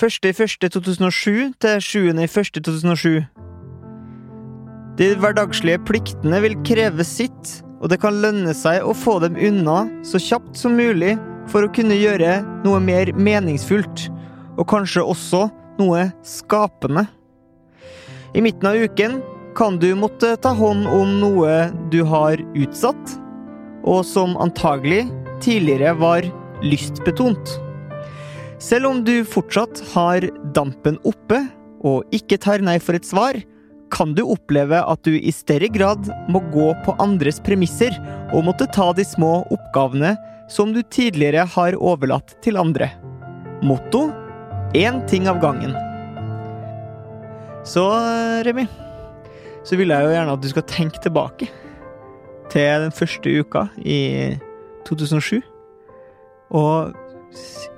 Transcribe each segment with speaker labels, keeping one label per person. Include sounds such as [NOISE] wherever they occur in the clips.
Speaker 1: 1.1.2007 til 7.1.2007 De hverdagslige pliktene vil kreve sitt, og det kan lønne seg å få dem unna så kjapt som mulig for å kunne gjøre noe mer meningsfullt, og kanskje også noe skapende. I midten av uken kan du måtte ta hånd om noe du har utsatt, og som antagelig tidligere var lystbetont. Selv om du fortsatt har dampen oppe og ikke tar nei for et svar, kan du oppleve at du i større grad må gå på andres premisser og måtte ta de små oppgavene som du tidligere har overlatt til andre. Motto én ting av gangen. Så, Remi, så vil jeg jo gjerne at du skal tenke tilbake til den første uka i 2007 og s-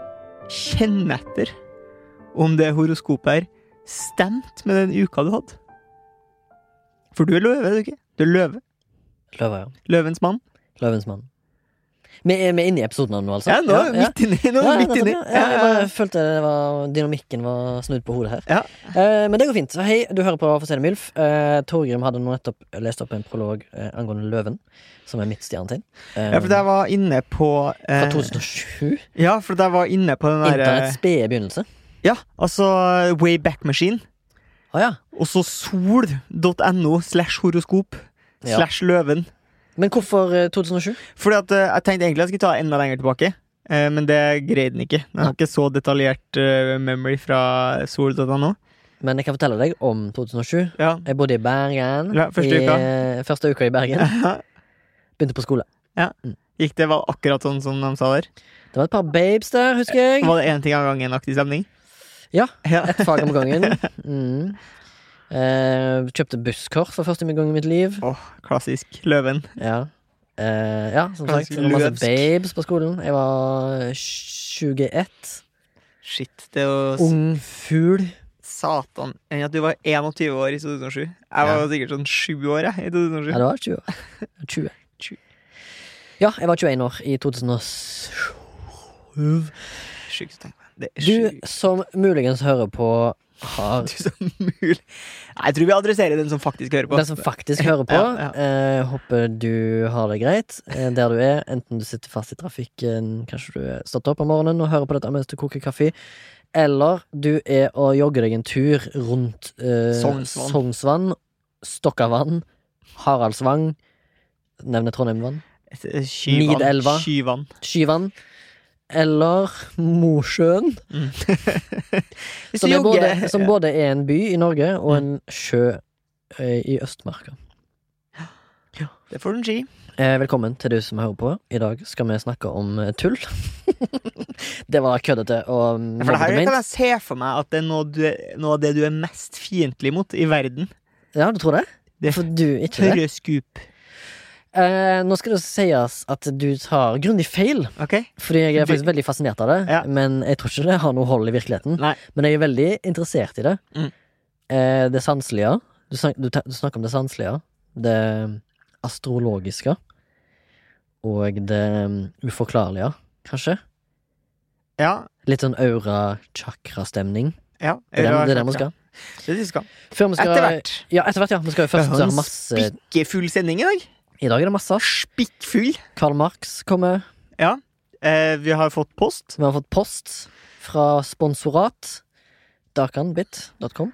Speaker 1: kjenne etter om det horoskopet her stemte med den uka du hadde. For du er løve, er du ikke? Du er løve.
Speaker 2: Løver, ja.
Speaker 1: Løvens mann.
Speaker 2: Løvens mann. Vi er, vi er inne i episoden nå, altså?
Speaker 1: Ja, nå er vi midt inni. Nå
Speaker 2: Ja,
Speaker 1: er vi midt
Speaker 2: nettopp,
Speaker 1: inni.
Speaker 2: ja.
Speaker 1: Ja,
Speaker 2: Ja,
Speaker 1: ja,
Speaker 2: jeg bare følte det var, dynamikken var snudd på hodet her.
Speaker 1: Ja.
Speaker 2: Eh, men det går fint. Så hei, du hører på For sene Milf. Eh, Torgrim hadde nå nettopp lest opp en prolog eh, angående Løven, som er mitt stjernetegn. Eh,
Speaker 1: ja, for jeg var inne på eh,
Speaker 2: Fra 2007.
Speaker 1: Ja, for jeg var eh, inne på den derre
Speaker 2: Internetts spede begynnelse.
Speaker 1: Ja, altså Wayback Machine.
Speaker 2: Å ja.
Speaker 1: Og så sol.no slash horoskop
Speaker 2: Ja.
Speaker 1: slash løven.
Speaker 2: Men hvorfor eh, 2007?
Speaker 1: Fordi at eh, jeg tenkte egentlig at jeg skulle ta enda lenger tilbake, eh, men det greide den ikke. Den har ikke så detaljert eh, memory fra sol.no.
Speaker 2: Men jeg kan fortelle deg om 2007.
Speaker 1: Ja.
Speaker 2: Jeg bodde i Bergen.
Speaker 1: Ja, første
Speaker 2: i, eh,
Speaker 1: uka.
Speaker 2: Første uka i Bergen. Begynte på skole.
Speaker 1: [LAUGHS] Gikk det var akkurat sånn som de sa der?
Speaker 2: Det var et par babes der, husker jeg.
Speaker 1: Var det én ting av gangen-aktig stemning?
Speaker 2: Ja.
Speaker 1: ja.
Speaker 2: Ett fag om gangen. Mm. Eh, kjøpte busskort for første gang i mitt liv.
Speaker 1: Åh, klassisk. Løven.
Speaker 2: Ja, eh, ja som sagt.
Speaker 1: Ganske
Speaker 2: Det var masse
Speaker 1: løvsk.
Speaker 2: babes på skolen. Jeg var 21.
Speaker 1: Shit, det er jo s-
Speaker 2: Ung fugl.
Speaker 1: satan. Enn at du var 21 år i 2007. Jeg var
Speaker 2: Ja.
Speaker 1: sikkert sånn 7 år jeg, i 2007.
Speaker 2: Ja, det var 20 år. 20.
Speaker 1: Tju-
Speaker 2: Ja, jeg var 21 år i 2007.
Speaker 1: Sjukt å tenke på. Det er
Speaker 2: Du
Speaker 1: sjukt.
Speaker 2: som muligens hører på, har
Speaker 1: [LAUGHS] Du som mulig Nei, Jeg tror vi adresserer den som faktisk hører på.
Speaker 2: Den som faktisk hører på,
Speaker 1: Ja,
Speaker 2: eh, håper du har det greit eh, der du er. Enten du sitter fast i trafikken, kanskje du er stått opp om morgenen og hører på dette mens du koker kaffe, eller du er og jogger deg en tur rundt eh,
Speaker 1: Sognsvann.
Speaker 2: Sognsvann, Stokkavann, Haraldsvang, nevner Trondheimvann,
Speaker 1: eh, Skyvann.
Speaker 2: Nidelva.
Speaker 1: Skyvann.
Speaker 2: Skyvann, eller Mosjøen,
Speaker 1: Hvis
Speaker 2: som,
Speaker 1: du
Speaker 2: er både,
Speaker 1: jogger Mm.
Speaker 2: som både er en by i Norge og en sjø eh, i Østmarka.
Speaker 1: Det får du en ski.
Speaker 2: Eh, velkommen til du som hører på. I dag skal vi snakke om eh, tull. [LAUGHS] det var køddete og
Speaker 1: Ja, For det her
Speaker 2: mobbete
Speaker 1: kan
Speaker 2: ment.
Speaker 1: jeg se for meg at det er noe, du, noe av det du er mest fiendtlig mot i verden.
Speaker 2: Ja, du tror det?
Speaker 1: Det-
Speaker 2: For du ikke det?
Speaker 1: [LAUGHS] Tørre skup.
Speaker 2: Eh, nå skal det sies at du tar grundig feil,
Speaker 1: Ok?
Speaker 2: fordi jeg er
Speaker 1: Du-
Speaker 2: faktisk veldig fascinert av det.
Speaker 1: Ja.
Speaker 2: Men jeg tror ikke det har noe hold i virkeligheten.
Speaker 1: Nei.
Speaker 2: Men jeg er veldig interessert i det.
Speaker 1: Mm.
Speaker 2: Eh, det sanselige. Du, snak, du, ta- du snakker om det sanselige. Det astrologiske. Og det mm, uforklarlige, kanskje.
Speaker 1: Ja.
Speaker 2: Litt sånn aura-chakra-stemning.
Speaker 1: ja.
Speaker 2: Det er det, det er det vi
Speaker 1: Det
Speaker 2: skal.
Speaker 1: er det vi skal.
Speaker 2: Før vi skal
Speaker 1: Etter hvert.
Speaker 2: Ja, etter hvert, ja. Vi skal jo først
Speaker 1: Vi har
Speaker 2: høre
Speaker 1: en
Speaker 2: masse
Speaker 1: Spikkfull sending i dag.
Speaker 2: I dag er det masse.
Speaker 1: Spikkfull.
Speaker 2: Karl Marx kommer.
Speaker 1: Eh, vi har fått post.
Speaker 2: Vi har fått post fra sponsorat. Darkanbit.com.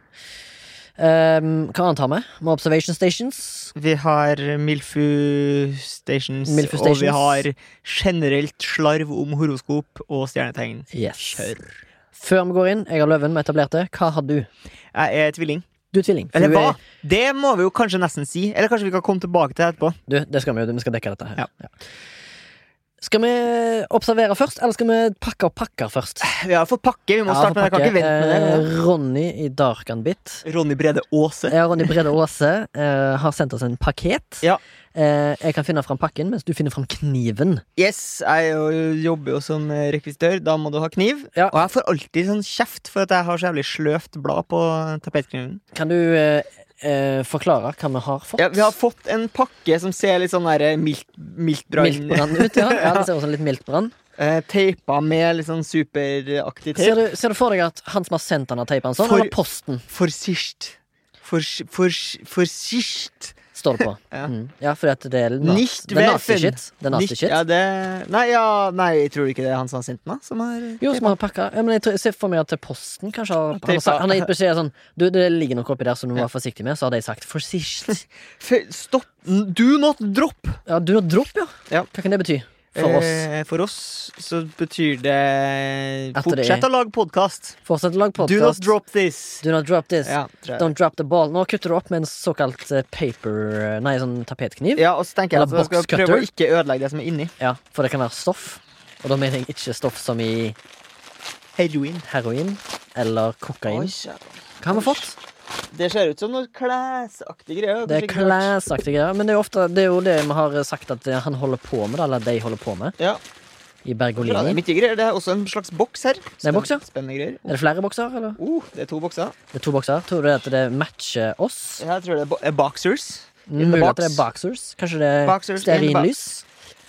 Speaker 2: Ehm, hva annet har vi? Med Observation Stations.
Speaker 1: Vi har Milfu Stations,
Speaker 2: Milfu
Speaker 1: og vi
Speaker 2: Stations.
Speaker 1: har generelt slarv om horoskop og stjernetegn.
Speaker 2: Yes. Før vi går inn, jeg har Løven med etablerte. Hva har du?
Speaker 1: Jeg er tvilling.
Speaker 2: Du er tvilling. for
Speaker 1: Eller
Speaker 2: du
Speaker 1: hva?
Speaker 2: er-
Speaker 1: Det må vi jo kanskje nesten si. Eller kanskje vi kan komme tilbake til det etterpå.
Speaker 2: Du, det skal vi jo. Vi skal dekke dette her.
Speaker 1: Ja.
Speaker 2: Skal vi observere først, eller skal vi pakke opp pakker først?
Speaker 1: Vi har fått pakke, vi må starte, men jeg kan ikke vente med det.
Speaker 2: Eh, Ronny i Dark and Bit.
Speaker 1: Ronny Brede Aase.
Speaker 2: Jeg og Ronny Brede Aase eh, har sendt oss en pakket.
Speaker 1: Ja.
Speaker 2: Eh, jeg kan finne fram pakken, mens du finner fram kniven.
Speaker 1: Yes, jeg jo- jobber jo som eh, rekvisitør. Da må du ha kniv.
Speaker 2: Ja.
Speaker 1: Og jeg får alltid sånn kjeft for at jeg har så jævlig sløvt blad på tapetkniven.
Speaker 2: Kan du eh, eh, forklare hva vi har fått?
Speaker 1: Ja, vi har fått en pakke som ser litt sånn der mildt, mildt brann
Speaker 2: Miltbrann ut, ja. ja. Det ser ut som litt miltbrann.
Speaker 1: eh, Teipa med litt sånn superaktig
Speaker 2: Ser,
Speaker 1: teip.
Speaker 2: du- ser du for deg at han som har sendt han har teipa en sånn,
Speaker 1: For-
Speaker 2: eller posten,
Speaker 1: Forsist. Fors- fors- Forsist.
Speaker 2: står det på.
Speaker 1: [LAUGHS] Ja.
Speaker 2: mm. ja fordi at det er na-
Speaker 1: Nicht
Speaker 2: det er nasty
Speaker 1: werfen.
Speaker 2: shit. Det er nasty
Speaker 1: Nikt-
Speaker 2: shit.
Speaker 1: Ja, det Nei, ja, nei, jeg tror ikke det er han som har sendt den, da? Som har
Speaker 2: Jo,
Speaker 1: teipet.
Speaker 2: som har pakka. Ja, men jeg, tror, jeg ser for meg at til Posten kanskje har, han, har
Speaker 1: Teipa.
Speaker 2: sagt, han har gitt beskjed sånn Du, det ligger noe oppi der som du må være forsiktig med. Så har de sagt 'forsicht'.
Speaker 1: F- Stopp. Do not drop.
Speaker 2: Ja, du har dropp, ja.
Speaker 1: Ja.
Speaker 2: Hva kan det bety for oss?
Speaker 1: Eh, for oss så betyr det
Speaker 2: At det
Speaker 1: Fortsett
Speaker 2: er-
Speaker 1: å lage podkast.
Speaker 2: Fortsett å lage
Speaker 1: Do not
Speaker 2: podkast.
Speaker 1: drop this.
Speaker 2: Do not drop this.
Speaker 1: Ja, tror jeg.
Speaker 2: Don't drop the ball. Nå kutter du opp med en såkalt eh, paper Nei, sånn tapetkniv. Ja.
Speaker 1: ja, og så tenker jeg at
Speaker 2: Eller
Speaker 1: jeg skal
Speaker 2: box cutter.
Speaker 1: prøve å ikke ødelegge det som er inni.
Speaker 2: For det kan være stoff. Og da mener jeg ikke stoff som i
Speaker 1: Heroin.
Speaker 2: heroin eller kokain. Hva har vi fått?
Speaker 1: det ser ut som noe klesaktig greier.
Speaker 2: Det er class-aktige greier. Men det er, jo ofte, det er jo det vi har sagt at eh, han holder på med, eller de holder på med,
Speaker 1: Ja,
Speaker 2: i
Speaker 1: det er
Speaker 2: Bergolini.
Speaker 1: mye greier. Det er også en slags boks her.
Speaker 2: er en boks, ja.
Speaker 1: Spenn- Spennende greier.
Speaker 2: Er det flere bokser, eller?
Speaker 1: Oh, det er to bokser.
Speaker 2: Det er to bokser. Tror du at det matcher oss? Mm,
Speaker 1: Jeg tror det er bo eh, boxers. In the
Speaker 2: Mulig at det er
Speaker 1: box.
Speaker 2: boxers? Kanskje det er
Speaker 1: Boxers in the
Speaker 2: stearinlys?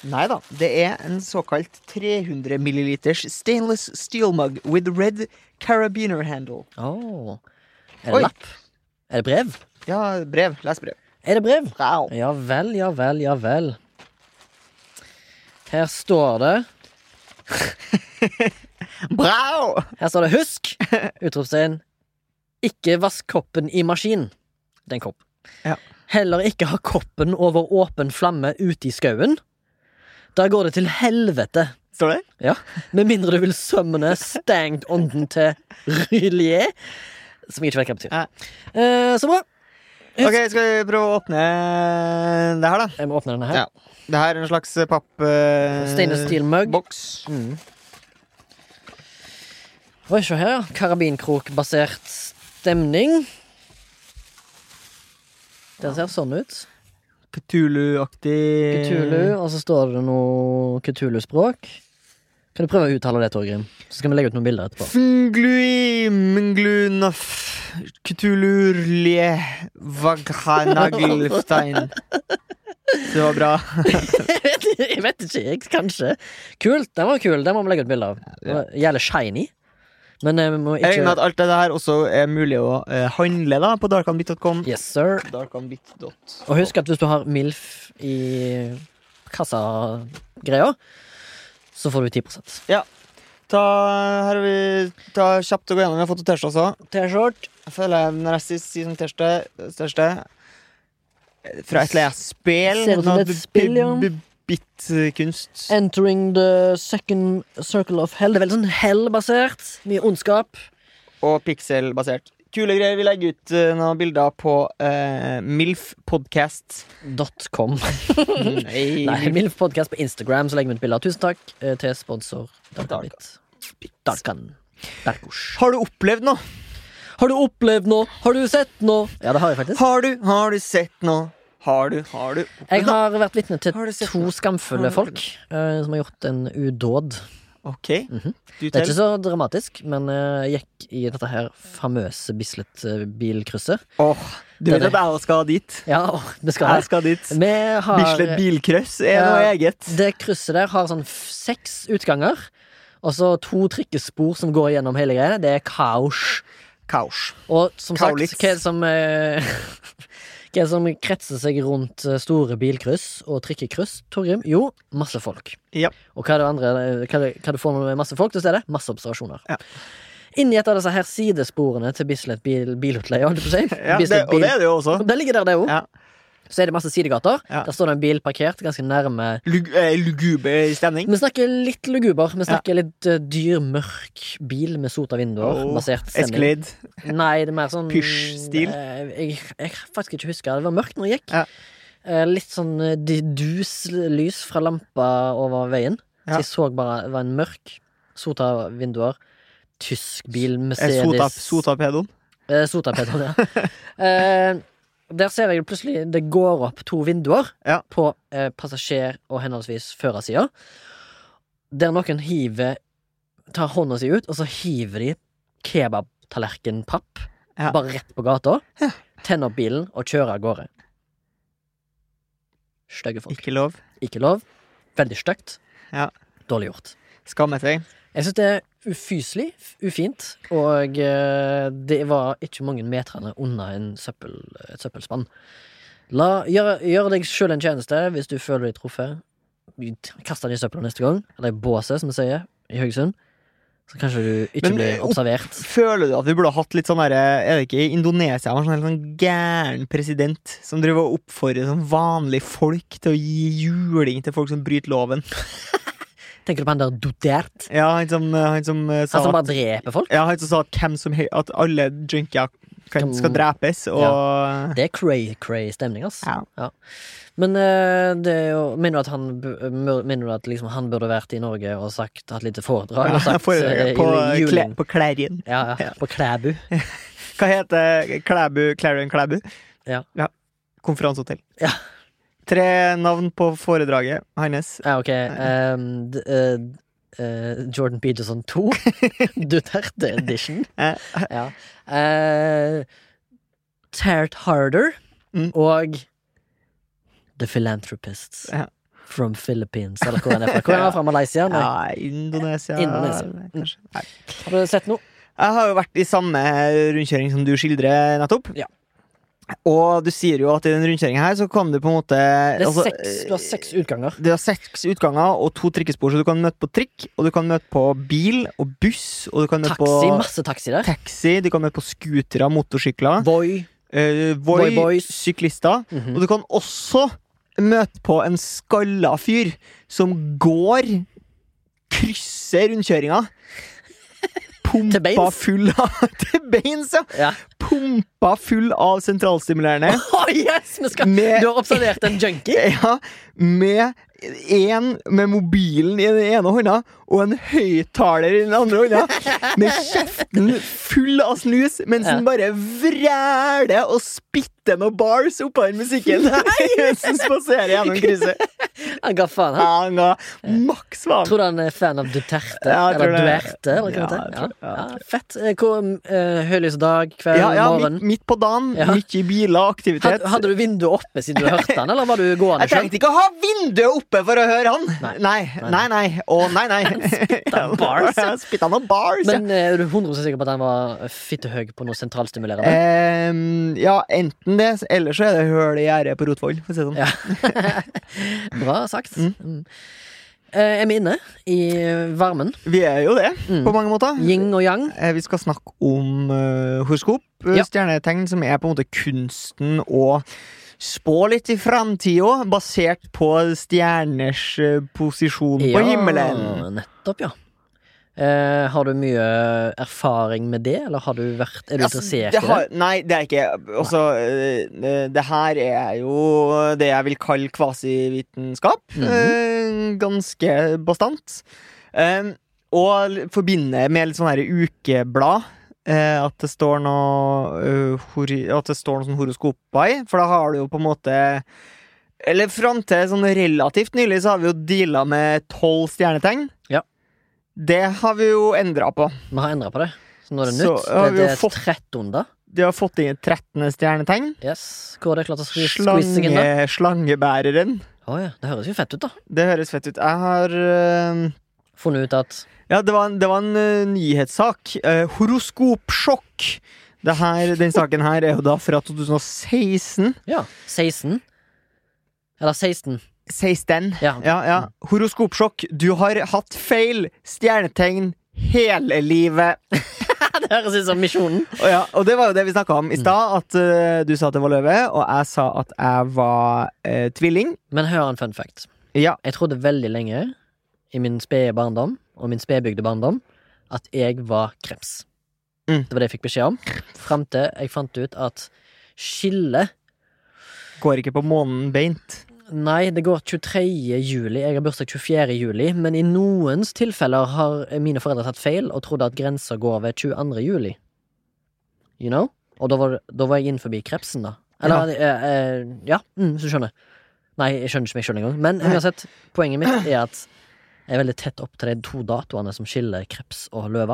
Speaker 1: Nei da. Det er en såkalt 300 milliliters stainless steel mug with red carabiner handle.
Speaker 2: Åh Er
Speaker 1: Oi.
Speaker 2: det lapp? Er det brev?
Speaker 1: Ja, brev. Les brev.
Speaker 2: Er det brev?
Speaker 1: Wow.
Speaker 2: Ja vel, ja vel, ja vel. Her står det
Speaker 1: Brau!
Speaker 2: Her står det
Speaker 1: [LAUGHS]
Speaker 2: 'husk!' Utropstegn. Ikke vask koppen i maskin. Det er en kopp.
Speaker 1: Ja.
Speaker 2: Heller ikke ha koppen over åpen flamme ute i skauen. Da går det til helvete.
Speaker 1: Står det?
Speaker 2: Ja. Med mindre du vil sømmene stengt ånden til Rylier. Som jeg ikke vet hva betyr.
Speaker 1: Nei.
Speaker 2: Eh, så bra.
Speaker 1: Ok, skal vi prøve å åpne det her, da?
Speaker 2: Jeg må åpne denne her.
Speaker 1: Ja. Det her er en slags papp... eh,
Speaker 2: Stainless steel mug.
Speaker 1: Boks.
Speaker 2: Mm. Oi, se her, ja. Karabinkrokbasert stemning. Den ser sånn ut.
Speaker 1: Kutulu-aktig
Speaker 2: Kutulu, og så står det noe Kutulu-språk. Kan du prøve å uttale det, Torgrim? Så skal vi legge ut noen bilder
Speaker 1: [LAUGHS]
Speaker 2: etterpå.
Speaker 1: Fnglui mnglunaf kutulurlie vaghanaglstein. Det var bra.
Speaker 2: Jeg vet, jeg vet ikke, jeg, kanskje. Kult, den var kul. Den må vi legge ut bilde av. Den var Jævlig shiny. Men eh, vi må
Speaker 1: Jeg regner med
Speaker 2: ikke
Speaker 1: at alt det her også er mulig å eh, handle da på darkanbit.com.
Speaker 2: Yes, sir.
Speaker 1: Darkanbit.com.
Speaker 2: Og husk at hvis du har MILF i kassagreia, så får du 10
Speaker 1: Ta, her har vi ta kjapt å gå gjennom. Vi har fått T-skjorte også.
Speaker 2: T-skjort.
Speaker 1: Jeg føler når jeg sier sier som tørste Største Fra et eller annet spill
Speaker 2: Ser ut som
Speaker 1: noe
Speaker 2: et
Speaker 1: b-
Speaker 2: spill, ja. Eh.
Speaker 1: b- Bittkunst
Speaker 2: Entering the second circle of hell. Det er veldig sånn hell-basert. Mye ondskap.
Speaker 1: og pixelbasert Kule greier, vi legger ut eh, noen bilder på eh, MILF
Speaker 2: [LAUGHS]
Speaker 1: podcast
Speaker 2: Dot com.
Speaker 1: Nei,
Speaker 2: Nei,
Speaker 1: Milf
Speaker 2: MILF Podcast på Instagram, så legger vi ut bilder. Tusen takk eh, til sponsor
Speaker 1: Darkan.
Speaker 2: Darkan. Darkan. Darkosh.
Speaker 1: Har du opplevd noe?
Speaker 2: Har du opplevd noe? Har du sett noe? Ja, det har jeg faktisk.
Speaker 1: Har du, har du sett noe? Har du, har du
Speaker 2: Jeg
Speaker 1: opplevd noe?
Speaker 2: har vært vitne til
Speaker 1: Har du sett
Speaker 2: to
Speaker 1: noe?
Speaker 2: skamfulle
Speaker 1: Har du
Speaker 2: folk eh, som har gjort en udåd.
Speaker 1: Ok,
Speaker 2: Mhm.
Speaker 1: du
Speaker 2: Det er
Speaker 1: til
Speaker 2: ikke så dramatisk, men eh, jeg gikk i dette her famøse eh, Bislett-bilkrysset.
Speaker 1: Åh, du vet
Speaker 2: Det er
Speaker 1: at jeg også skal dit
Speaker 2: Ja, åh, vi skal
Speaker 1: Jeg
Speaker 2: her.
Speaker 1: skal dit
Speaker 2: Vi har
Speaker 1: Bislett bilkrøss er
Speaker 2: Ja.
Speaker 1: noe eget
Speaker 2: Eh, Det krysset der har sånn f- seks utganger. Og så to trikkespor som går gjennom hele greia. Det er kaos.
Speaker 1: Kaos
Speaker 2: Og som
Speaker 1: Kaulitz.
Speaker 2: sagt, hva er det som eh, [LAUGHS] Hva er det som kretser seg rundt eh, store bilkryss og trikkekryss, Torgrim? Jo, masse folk.
Speaker 1: Ja.
Speaker 2: Og hva er det andre eh, hva, er det- hva du får med masse folk til stedet? Masse observasjoner.
Speaker 1: Ja.
Speaker 2: Inni et av disse her sidesporene til Bislett bil, bilutleie, holdt jeg på å si.
Speaker 1: [LAUGHS] ja, det,
Speaker 2: Bislett
Speaker 1: Og
Speaker 2: bil-
Speaker 1: det er det jo også
Speaker 2: Det ligger der, det òg.
Speaker 1: Ja.
Speaker 2: Så er det masse sidegater.
Speaker 1: Ja.
Speaker 2: Der står det en bil parkert ganske nærme
Speaker 1: Lug eh, luguber stemning.
Speaker 2: Vi snakker litt luguber. Vi snakker litt eh, dyr, mørk bil med sota vinduer.
Speaker 1: Oh,
Speaker 2: basert stemning.
Speaker 1: Escalade.
Speaker 2: Nei, det er mer sånn
Speaker 1: Pysj-stil.
Speaker 2: Eh, Jeg, jeg kan faktisk ikke husker. Det var mørkt når jeg gikk.
Speaker 1: Ja.
Speaker 2: Eh, eh, litt sånn eh, di- dus lys fra lampa over veien.
Speaker 1: Ja.
Speaker 2: Så jeg så bare det var en mørk, sota vinduer, tysk bil,
Speaker 1: Eh, Sota,
Speaker 2: Mercedes
Speaker 1: sota pedoen.
Speaker 2: Eh, Sotapedoen, ja. eh, der ser jeg plutselig det går opp to vinduer
Speaker 1: Ja.
Speaker 2: på eh, passasjer- og henholdsvis førersida. Der noen hiver tar hånda si ut, og så hiver de kebabtallerkenpapp
Speaker 1: Ja.
Speaker 2: bare rett på gata. Tenner opp bilen og kjører av gårde. Stygge folk.
Speaker 1: Ikke lov.
Speaker 2: Ikke lov. Veldig stygt.
Speaker 1: Ja.
Speaker 2: Dårlig gjort.
Speaker 1: Skammetegn.
Speaker 2: Jeg syns det er ufyselig, f- ufint, og eh, det var ikke mange meterne unna en søppel, et søppelspann. La, gjør, gjør deg sjøl en tjeneste hvis du føler deg truffet. Kast den i søpla neste gang, eller i båset, som vi sier i Haugesund. Så kanskje du ikke
Speaker 1: Men, eh,
Speaker 2: blir
Speaker 1: opp-
Speaker 2: observert.
Speaker 1: Føler du at vi burde ha hatt litt sånn derre Er det ikke i Indonesia man har en sånn gæren president som driver og oppfordrer sånn vanlige folk til å gi juling til folk som bryter loven?
Speaker 2: Tenker du på han der dotert?
Speaker 1: Ja, han som, han som eh, sa
Speaker 2: Han som
Speaker 1: at-
Speaker 2: bare dreper folk?
Speaker 1: Ja, han som sa at, hvem som, hel- at alle junkier kan, skal
Speaker 2: Kan-
Speaker 1: drepes, og
Speaker 2: Det er cray-cray stemning, ass.
Speaker 1: Ja.
Speaker 2: Men eh, det er jo Mener du at han, bu- mur- mener du at liksom han burde vært i Norge og sagt, hatt lite foredrag? og
Speaker 1: Ja,
Speaker 2: sagt,
Speaker 1: foredraget
Speaker 2: eh,
Speaker 1: på,
Speaker 2: juling-
Speaker 1: kle, på Klærien.
Speaker 2: Ja, ja. På Klæbu.
Speaker 1: Hva heter eh, Klæbu, Clarion Klæbu?
Speaker 2: Ja.
Speaker 1: Konferansehotell.
Speaker 2: Ja.
Speaker 1: Tre navn på foredraget hans.
Speaker 2: Ja, ok. ehm, d- eh, eh, Jordan Peterson
Speaker 1: [LAUGHS]
Speaker 2: 2. Duterte edition.
Speaker 1: Eh,
Speaker 2: Ja. Eh, Tart Harder
Speaker 1: Mm.
Speaker 2: og The Philanthropists
Speaker 1: Ja.
Speaker 2: from Philippines. Eller hvor han er fra. Hvor er han fra? Malaysia? Nei.
Speaker 1: [LAUGHS] Ja, Indonesia,
Speaker 2: Indonesia. Mm.
Speaker 1: Nei, kanskje. Nei.
Speaker 2: Har du sett noe?
Speaker 1: Jeg har jo vært i samme rundkjøring som du skildrer nettopp.
Speaker 2: Ja.
Speaker 1: Og du sier jo at i den rundkjøringa her så kan du på en måte
Speaker 2: Det er
Speaker 1: altså, eh,
Speaker 2: seks, du har seks utganger.
Speaker 1: Det er seks utganger og to trikkespor, så du kan møte på trikk, og du kan møte på bil og buss, og du kan møte
Speaker 2: Taxi.
Speaker 1: på
Speaker 2: Masse taxi der.
Speaker 1: taxi, du kan møte på scootere, motorsykler,
Speaker 2: Voi. [LAUGHS]
Speaker 1: eh, Voi,
Speaker 2: Voi boys.
Speaker 1: syklister,
Speaker 2: Mhm.
Speaker 1: og du kan også møte på en skalla fyr som går, krysser rundkjøringa,
Speaker 2: [LAUGHS] Til
Speaker 1: pumpa
Speaker 2: beins?
Speaker 1: full av [LAUGHS] Til beins, ja!
Speaker 2: Ja.
Speaker 1: Pumpa full av sentralstimulerende.
Speaker 2: Å, yes! Vi skal.
Speaker 1: Med-
Speaker 2: Du har observert en junkie?
Speaker 1: Ja, med en med mobilen i den ene hånda og en høyttaler i den andre hånda. Med kjeften full av snus mens
Speaker 2: Ja.
Speaker 1: han bare vræler og spytter noen bars oppå den musikken [LAUGHS] mens han spaserer gjennom
Speaker 2: [LAUGHS]
Speaker 1: krysset.
Speaker 2: Han ga faen,
Speaker 1: Ja,
Speaker 2: han.
Speaker 1: han ga maks faen.
Speaker 2: Tror du han er fan av Duterte?
Speaker 1: Ja, jeg tror
Speaker 2: eller
Speaker 1: det.
Speaker 2: Duerte? Eller hva
Speaker 1: Ja,
Speaker 2: det
Speaker 1: jeg
Speaker 2: heter?
Speaker 1: tror-
Speaker 2: Ja.
Speaker 1: ja.
Speaker 2: Ja, fett. Eh, Hvor, eh, høylys dag, kveld,
Speaker 1: Ja, ja, midt,
Speaker 2: morgen.
Speaker 1: midt på dagen,
Speaker 2: Ja.
Speaker 1: mye biler, aktivitet.
Speaker 2: Had, hadde du vinduet oppe siden du hørte han, eller var du gående
Speaker 1: Jeg
Speaker 2: sjøl?
Speaker 1: trengte ikke å ha vinduet oppe for å høre han! Nei,
Speaker 2: Nei.
Speaker 1: nei, nei. nei. Å, nei,
Speaker 2: [LAUGHS]
Speaker 1: nei.
Speaker 2: spytta bars,
Speaker 1: [LAUGHS]
Speaker 2: ja.
Speaker 1: Spytta noen bars, ja.
Speaker 2: Men eh, er du 100 sikker på at han var fittehøy på noe sentralstimulerende?
Speaker 1: Ehm, ja, enten det, eller så er det høl i gjerdet på Rotvoll. For å si det sånn.
Speaker 2: Ja.
Speaker 1: Eh,
Speaker 2: Bra sagt. Mm. Eh, er vi inne i varmen?
Speaker 1: Vi er jo det,
Speaker 2: Mm.
Speaker 1: på mange måter.
Speaker 2: Yin og yang?
Speaker 1: Eh, Vi skal snakke om eh, horoskop, eh,
Speaker 2: Ja.
Speaker 1: stjernetegn, som er på en måte kunsten å spå litt i framtida, basert på stjerners eh, posisjon på himmelen.
Speaker 2: Nettopp, ja. Eh, har du mye erfaring med det, eller har du vært, er du
Speaker 1: Altså,
Speaker 2: interessert
Speaker 1: det har,
Speaker 2: i det?
Speaker 1: nei, det er ikke Altså, eh, det her er jo det jeg vil kalle kvasivitenskap. eh, ganske bastant. Eh, og l- forbinder med litt sånn her ukeblad. eh, at det står noe eh, hori- At det står noe sånn horoskoper i. For da har du jo på en måte Eller fram til sånn relativt nylig så har vi jo deala med tolv stjernetegn.
Speaker 2: Ja.
Speaker 1: Det har vi jo endra på.
Speaker 2: Vi har endra på det. Så nå er det
Speaker 1: Så
Speaker 2: nytt.
Speaker 1: har vi
Speaker 2: Det,
Speaker 1: jo
Speaker 2: det er
Speaker 1: fått-
Speaker 2: 13. da.
Speaker 1: De har fått inn et 13. stjernetegn.
Speaker 2: Yes. Hvor er det klart å skri- squeeze seg inn, da?
Speaker 1: Slange, slangebæreren.
Speaker 2: Å ja. Det høres jo fett ut, da.
Speaker 1: Det høres fett ut. Jeg har øh,
Speaker 2: Funnet ut at
Speaker 1: Ja, det var en, det var en øh, nyhetssak. Eh, horoskopsjokk. Det her, den saken her er jo da fra 2016.
Speaker 2: Ja. 16. Eller 16.
Speaker 1: 16.
Speaker 2: Ja. [LAUGHS]
Speaker 1: Ja, ja. Horoskopsjokk. Du har hatt feil stjernetegn hele livet.
Speaker 2: Det høres ut som Misjonen.
Speaker 1: Og, ja, og det var jo det vi snakka om i stad. At øh, du sa at det var løve, og jeg sa at jeg var øh, tvilling.
Speaker 2: Men hør en fun fact.
Speaker 1: Ja.
Speaker 2: Jeg trodde veldig lenge, i min spede barndom og min spedbygde barndom, at jeg var kreps.
Speaker 1: Mm.
Speaker 2: Det var det jeg fikk beskjed om. Fram til jeg fant ut at skillet
Speaker 1: Går ikke på månen beint.
Speaker 2: Nei, det går 23. juli. Jeg har bursdag 24. juli. Men i noens tilfeller har mine foreldre tatt feil og trodde at grensa går ved 22. juli. You know? Og da var, da var jeg inn forbi krepsen, da. Eller, ja, eh, eh, ja. Mm, så skjønner jeg. Nei, jeg skjønner ikke meg sjøl engang. Men
Speaker 1: Nei.
Speaker 2: uansett, poenget mitt er at jeg er veldig tett opp til de to datoene som skiller kreps og løve.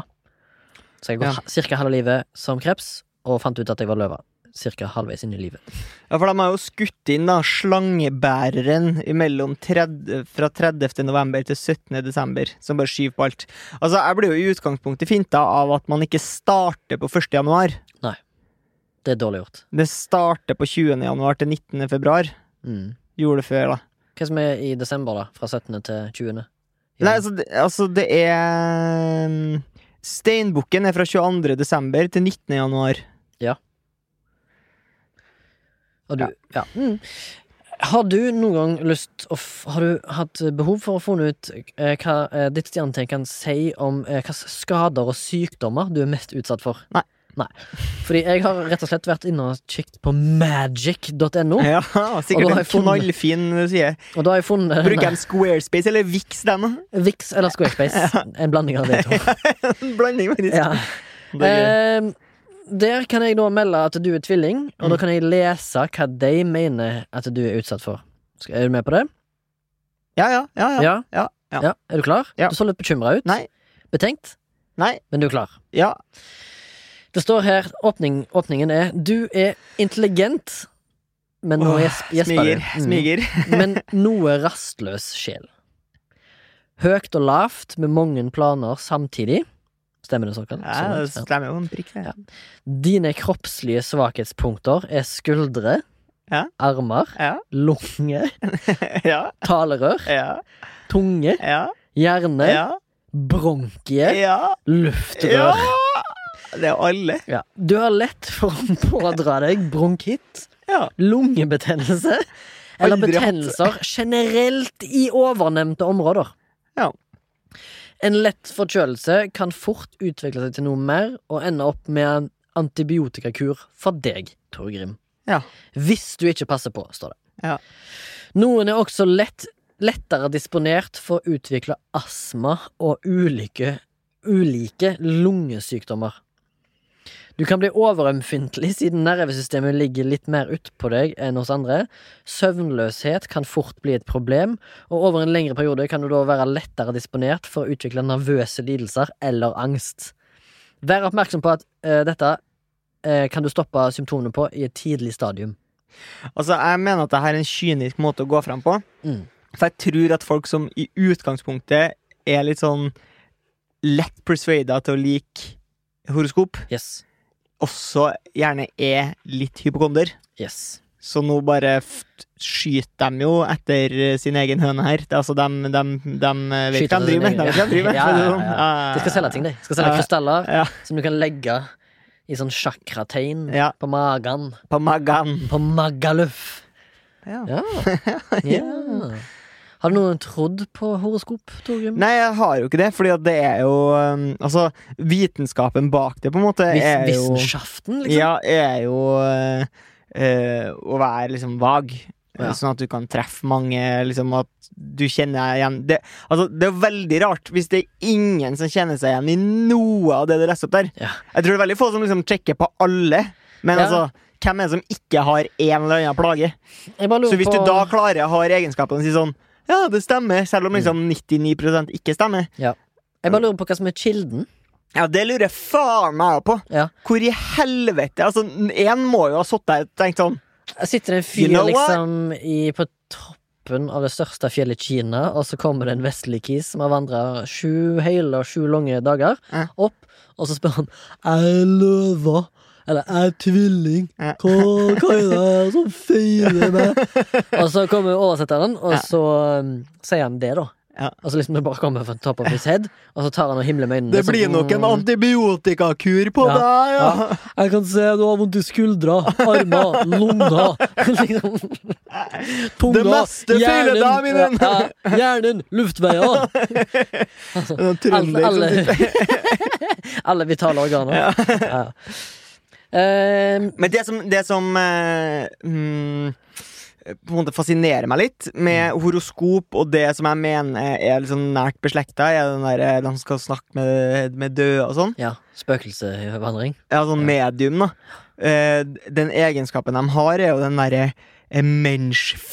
Speaker 2: Så jeg har gått cirka halve livet som kreps, og fant ut at jeg var løve. Cirka halvveis inn i livet.
Speaker 1: Ja, for de har jo skutt inn da slangebæreren imellom 30, fra 30. november til 17. desember, som bare skyver på alt. Altså, jeg blir jo i utgangspunktet finta av at man ikke starter på 1. januar.
Speaker 2: Det er dårlig gjort.
Speaker 1: Det starter på 20. januar til 19. februar.
Speaker 2: Mm.
Speaker 1: Gjorde det før, da.
Speaker 2: Hva som er i desember, da? Fra 17. til 20.
Speaker 1: Nei, altså, det, altså, det er mm, Steinbukken er fra 22. desember til 19. januar.
Speaker 2: Og du, ja. Mm. Har du noen gang lyst å f Har du hatt behov for å få ut eh, hva eh, ditt stjernetegn kan si om eh, hvilke skader og sykdommer du er mest utsatt for?
Speaker 1: Nei.
Speaker 2: Nei. Fordi jeg har rett og slett vært inne og kikket på magic.no,
Speaker 1: Ja,
Speaker 2: Og da har
Speaker 1: sikkert en
Speaker 2: jeg funnet-
Speaker 1: knallfin side.
Speaker 2: og da har jeg funnet [LAUGHS]
Speaker 1: Bruker de Squarespace eller Vix, den? da? [LAUGHS]
Speaker 2: Vix eller Squarespace. En blanding av de to.
Speaker 1: En blanding, faktisk.
Speaker 2: Ja.
Speaker 1: Det er gøy.
Speaker 2: Ehm, der kan jeg da melde at du er tvilling, og da kan jeg lese hva de mener at du er utsatt for. Skal- Er du med på det?
Speaker 1: ja, ja, ja, ja. ja, ja.
Speaker 2: Er du klar?
Speaker 1: Ja.
Speaker 2: Du så litt bekymra ut.
Speaker 1: Nei.
Speaker 2: Betenkt,
Speaker 1: Nei,
Speaker 2: men du er klar.
Speaker 1: ja.
Speaker 2: Det står her åpning, Åpningen er Du er intelligent, men nå
Speaker 1: Åh,
Speaker 2: gjesp- gjesper du.
Speaker 1: Smiger.
Speaker 2: Mm.
Speaker 1: Smiger.
Speaker 2: [LAUGHS] Men noe rastløs sjel. Høyt og lavt med mange planer samtidig. Stemmer det såkalt? Sånn,
Speaker 1: Ja, det stemmer jo en prikk, det.
Speaker 2: Ja. Dine kroppslige svakhetspunkter er skuldre,
Speaker 1: Ja.
Speaker 2: armer,
Speaker 1: Ja.
Speaker 2: lunge,
Speaker 1: Ja,
Speaker 2: talerør,
Speaker 1: ja,
Speaker 2: tunge,
Speaker 1: ja.
Speaker 2: hjerne,
Speaker 1: Ja,
Speaker 2: bronkie,
Speaker 1: ja. ja.
Speaker 2: luftrør.
Speaker 1: Det er alle.
Speaker 2: Ja. Du har lett for å pådra deg bronkitt,
Speaker 1: Ja.
Speaker 2: lungebetennelse eller
Speaker 1: Aldri hatt.
Speaker 2: betennelser generelt i overnevnte områder.
Speaker 1: Ja.
Speaker 2: En lett forkjølelse kan fort utvikle seg til noe mer og ende opp med en antibiotikakur for deg, Tor Grim.
Speaker 1: Ja.
Speaker 2: Hvis du ikke passer på, står det.
Speaker 1: Ja.
Speaker 2: Noen er også lett, lettere disponert for å utvikle astma og ulike, ulike lungesykdommer. Du kan bli overømfintlig siden nervesystemet ligger litt mer utpå deg enn hos andre. Søvnløshet kan fort bli et problem, og over en lengre periode kan du da være lettere disponert for å utvikle nervøse lidelser eller angst. Vær oppmerksom på at eh, dette eh, kan du stoppe symptomene på i et tidlig stadium.
Speaker 1: Altså, jeg mener at dette er en kynisk måte å gå frem på.
Speaker 2: Mm.
Speaker 1: For jeg tror at folk som i utgangspunktet er litt sånn lett persuada til å like horoskop,
Speaker 2: Yes.
Speaker 1: også gjerne er litt hypokonder.
Speaker 2: Yes.
Speaker 1: Så nå bare f skyter de jo etter eh, sin egen høne her. Det er Altså, de, de, de eh, vet
Speaker 2: Skyter
Speaker 1: hva de driver med.
Speaker 2: sin
Speaker 1: De
Speaker 2: egen-
Speaker 1: vet hva de driver med.
Speaker 2: [LAUGHS] Ja,
Speaker 1: for å si det
Speaker 2: ja, ja.
Speaker 1: sånn. Ja, ja,
Speaker 2: De skal selge ting, de. De skal selge
Speaker 1: Ja.
Speaker 2: krystaller
Speaker 1: Ja.
Speaker 2: som du kan legge i sånn chakrategn
Speaker 1: Ja.
Speaker 2: på magen.
Speaker 1: På magen.
Speaker 2: På Magaluf.
Speaker 1: Ja. [LAUGHS]
Speaker 2: Ja. ja. Har du noen trodd på horoskop, Torgrim?
Speaker 1: Nei, jeg har jo ikke det, fordi at det er jo eh, Altså, vitenskapen bak det, på en måte, er jo
Speaker 2: Wissenschaften, liksom?
Speaker 1: Ja, er jo eh, eh, å være liksom vag.
Speaker 2: Ja.
Speaker 1: Sånn at du kan treffe mange, liksom at du kjenner deg igjen det, altså, det er jo veldig rart hvis det er ingen som kjenner seg igjen i noe av det du leser opp der.
Speaker 2: Ja.
Speaker 1: Jeg tror det er veldig få som liksom sjekker på alle, men
Speaker 2: Ja.
Speaker 1: altså, hvem er det som ikke har en eller annen plage?
Speaker 2: Jeg bare
Speaker 1: Så
Speaker 2: lurer
Speaker 1: hvis
Speaker 2: på
Speaker 1: du da klarer å ha egenskapene og si sånn ja, det stemmer, selv om liksom 99 ikke stemmer.
Speaker 2: Jeg bare lurer på hva som er kilden.
Speaker 1: Ja, Det lurer faen meg på!
Speaker 2: Ja.
Speaker 1: Hvor i helvete Altså, Én må jo ha sittet der og tenkt sånn
Speaker 2: Sitter det en fyr
Speaker 1: You know what?
Speaker 2: liksom i, på toppen av det største fjellet i Kina, og så kommer det en vestlig kis som har vandra sju hele og sju lange dager
Speaker 1: Ja.
Speaker 2: opp, og så spør han Er jeg løve? Eller er jeg tvilling?
Speaker 1: Ja.
Speaker 2: Hva, hva er det som feiler
Speaker 1: [LAUGHS]
Speaker 2: meg? Og så kommer oversetteren, og
Speaker 1: Ja.
Speaker 2: så um, sier han det, da.
Speaker 1: Ja.
Speaker 2: Og så liksom det bare kommer fra top of his head, og så tar han og himler med øynene.
Speaker 1: Det
Speaker 2: sånn,
Speaker 1: blir nok
Speaker 2: mm.
Speaker 1: en antibiotikakur på
Speaker 2: Ja.
Speaker 1: deg, ja.
Speaker 2: Jeg kan se du har vondt i skuldra, armer, lunga [LAUGHS] liksom. Tunga,
Speaker 1: Det meste feiler deg,
Speaker 2: hjernen,
Speaker 1: min venn.
Speaker 2: ja, ja, Hjernen, luftveier
Speaker 1: [LAUGHS] En
Speaker 2: alle,
Speaker 1: [LAUGHS] trønder som sitter-
Speaker 2: alle, [LAUGHS] alle vitale organer ja. Ehm,
Speaker 1: Men det som, det som eh, mm, på en måte fascinerer meg litt med horoskop og det som jeg mener er liksom nært beslekta. Er den der, eh, de som skal snakke med, med døde og sånn.
Speaker 2: Ja, spøkelsevandring.
Speaker 1: Ja, sånn medium, da. Eh, den egenskapen de har, er jo den derre eh,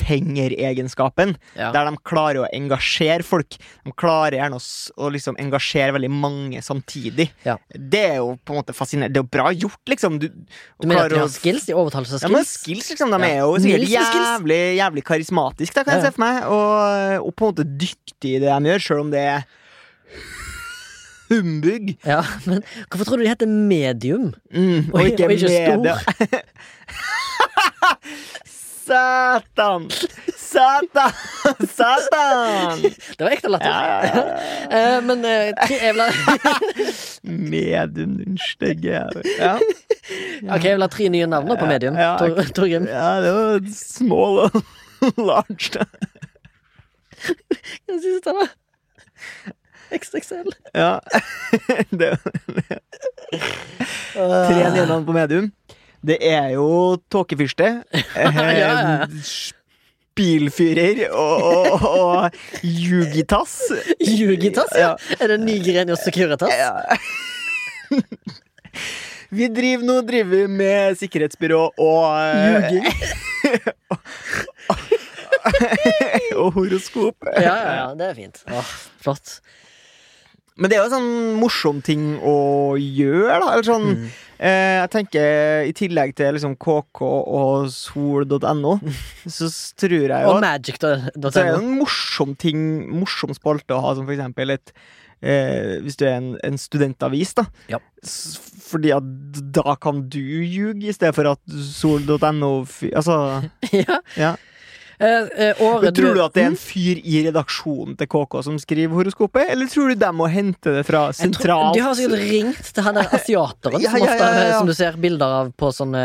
Speaker 1: menschfenger-egenskapen.
Speaker 2: Ja.
Speaker 1: Der de klarer å engasjere folk. De klarer gjerne å, s- å liksom engasjere veldig mange samtidig.
Speaker 2: Ja.
Speaker 1: Det er jo på en måte fascinerende. Det er jo bra gjort, liksom. Du,
Speaker 2: Du mener
Speaker 1: klarer
Speaker 2: at de
Speaker 1: å
Speaker 2: har skills? De overtalelsesskills?
Speaker 1: ja, men skills, liksom. De
Speaker 2: Ja.
Speaker 1: er jo sikkert
Speaker 2: Nilsen skills.
Speaker 1: jævlig, jævlig karismatiske, da, kan
Speaker 2: Ja, ja.
Speaker 1: jeg se for meg. Og, og på en måte dyktige i det de gjør, sjøl om det er humbug.
Speaker 2: Ja, men hvorfor tror du de heter medium?
Speaker 1: Mm, og,
Speaker 2: Oi,
Speaker 1: ikke
Speaker 2: og ikke
Speaker 1: media. [LAUGHS] Satan! Satan! [LAUGHS] Satan!
Speaker 2: Det var ekte latter.
Speaker 1: Ja, ja, ja.
Speaker 2: [LAUGHS] Eh, men eh, tre- jeg vil ha [LAUGHS]
Speaker 1: Medium, din stygge jævel. Ja.
Speaker 2: Ok, jeg vil ha tre nye navn da på medium.
Speaker 1: Ja,
Speaker 2: Tor- Torgrim.
Speaker 1: ja, det var small og [LAUGHS] large, da.
Speaker 2: Hva synes du da? XXL.
Speaker 1: Ja. [LAUGHS] Det, tre nye navn på medium. Det er jo tåkefyrste,
Speaker 2: [LAUGHS] Ja, ja, ja.
Speaker 1: eh, spilfyrer og, og, og Jugitas.
Speaker 2: Jugitas, ja. Er det en ny gren i Securitas?
Speaker 1: Ja. Vi driver nå driver vi med sikkerhetsbyrå og eh,
Speaker 2: Ljuging.
Speaker 1: og horoskop.
Speaker 2: Ja, ja, ja, det er fint. Åh, flott.
Speaker 1: Men det er jo en sånn morsom ting å gjøre, da. Eller sånn,
Speaker 2: Mm.
Speaker 1: eh, jeg tenker I tillegg til liksom KK og
Speaker 2: [LAUGHS]
Speaker 1: sol.no, så s- tror jeg jo
Speaker 2: Og
Speaker 1: at så er det
Speaker 2: magic.no.
Speaker 1: en morsom ting, morsom spalte å ha, som for eksempel et eh, Hvis du er en, en studentavis, da.
Speaker 2: Ja.
Speaker 1: S- Fordi at da kan du ljuge, i stedet for at sol.no fy- Altså
Speaker 2: [LAUGHS] Ja. [LAUGHS]
Speaker 1: Ja.
Speaker 2: Eh, eh,
Speaker 1: Men
Speaker 2: året
Speaker 1: Tror du at det er en fyr i redaksjonen til KK som skriver horoskopet, eller tror du de må hente det fra
Speaker 2: Jeg tror-
Speaker 1: sentralt?
Speaker 2: De har sikkert ringt til han der asiateren
Speaker 1: Ja,
Speaker 2: som,
Speaker 1: ja,
Speaker 2: ofte,
Speaker 1: ja, ja, ja.
Speaker 2: som du ser bilder av på sånne,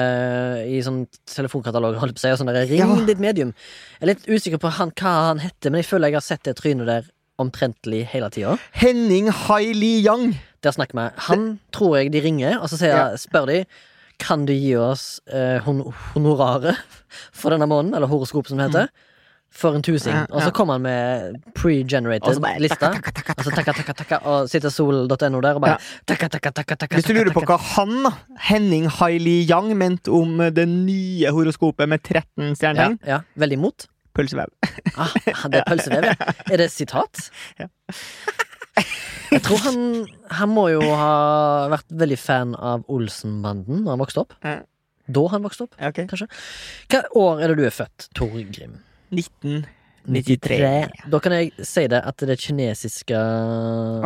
Speaker 2: i sånn telefonkatalog. Holdt på å si, og sånn der, Ring
Speaker 1: Ja.
Speaker 2: ditt medium. Jeg er litt usikker på han, hva han heter, men jeg føler jeg har sett det trynet der omtrentlig hele tida.
Speaker 1: Henning Haili Yang.
Speaker 2: Der snakker vi. Han tror jeg de ringer, og så sier,
Speaker 1: Ja.
Speaker 2: spør de kan du gi oss eh, hon honoraret for denne måneden, eller horoskopet som det heter, for en tusing.
Speaker 1: Ja,
Speaker 2: Og så
Speaker 1: ja.
Speaker 2: kommer han med
Speaker 1: Altså,
Speaker 2: pre-generated lista. Og så takka, takka, takka, og sitter sol.no der og bare
Speaker 1: Ja.
Speaker 2: takka, takka, takka, takka,
Speaker 1: Hvis du
Speaker 2: takka,
Speaker 1: lurer på
Speaker 2: takka.
Speaker 1: hva han, da, Henning Haili Yang, mente om eh, det nye horoskopet med 13
Speaker 2: ja,
Speaker 1: stjernetegn
Speaker 2: ja, Veldig imot.
Speaker 1: Pølsevev.
Speaker 2: Ah, det er pølsevev, ja. Er det et sitat?
Speaker 1: Ja.
Speaker 2: Jeg tror han, han må jo ha vært veldig fan av Olsenbanden da han vokste opp.
Speaker 1: Ja.
Speaker 2: Da han vokste opp.
Speaker 1: Ja, ok.
Speaker 2: Hva år er det du er født, Torgrim?
Speaker 1: 1993.
Speaker 2: Da kan jeg si det at det kinesiske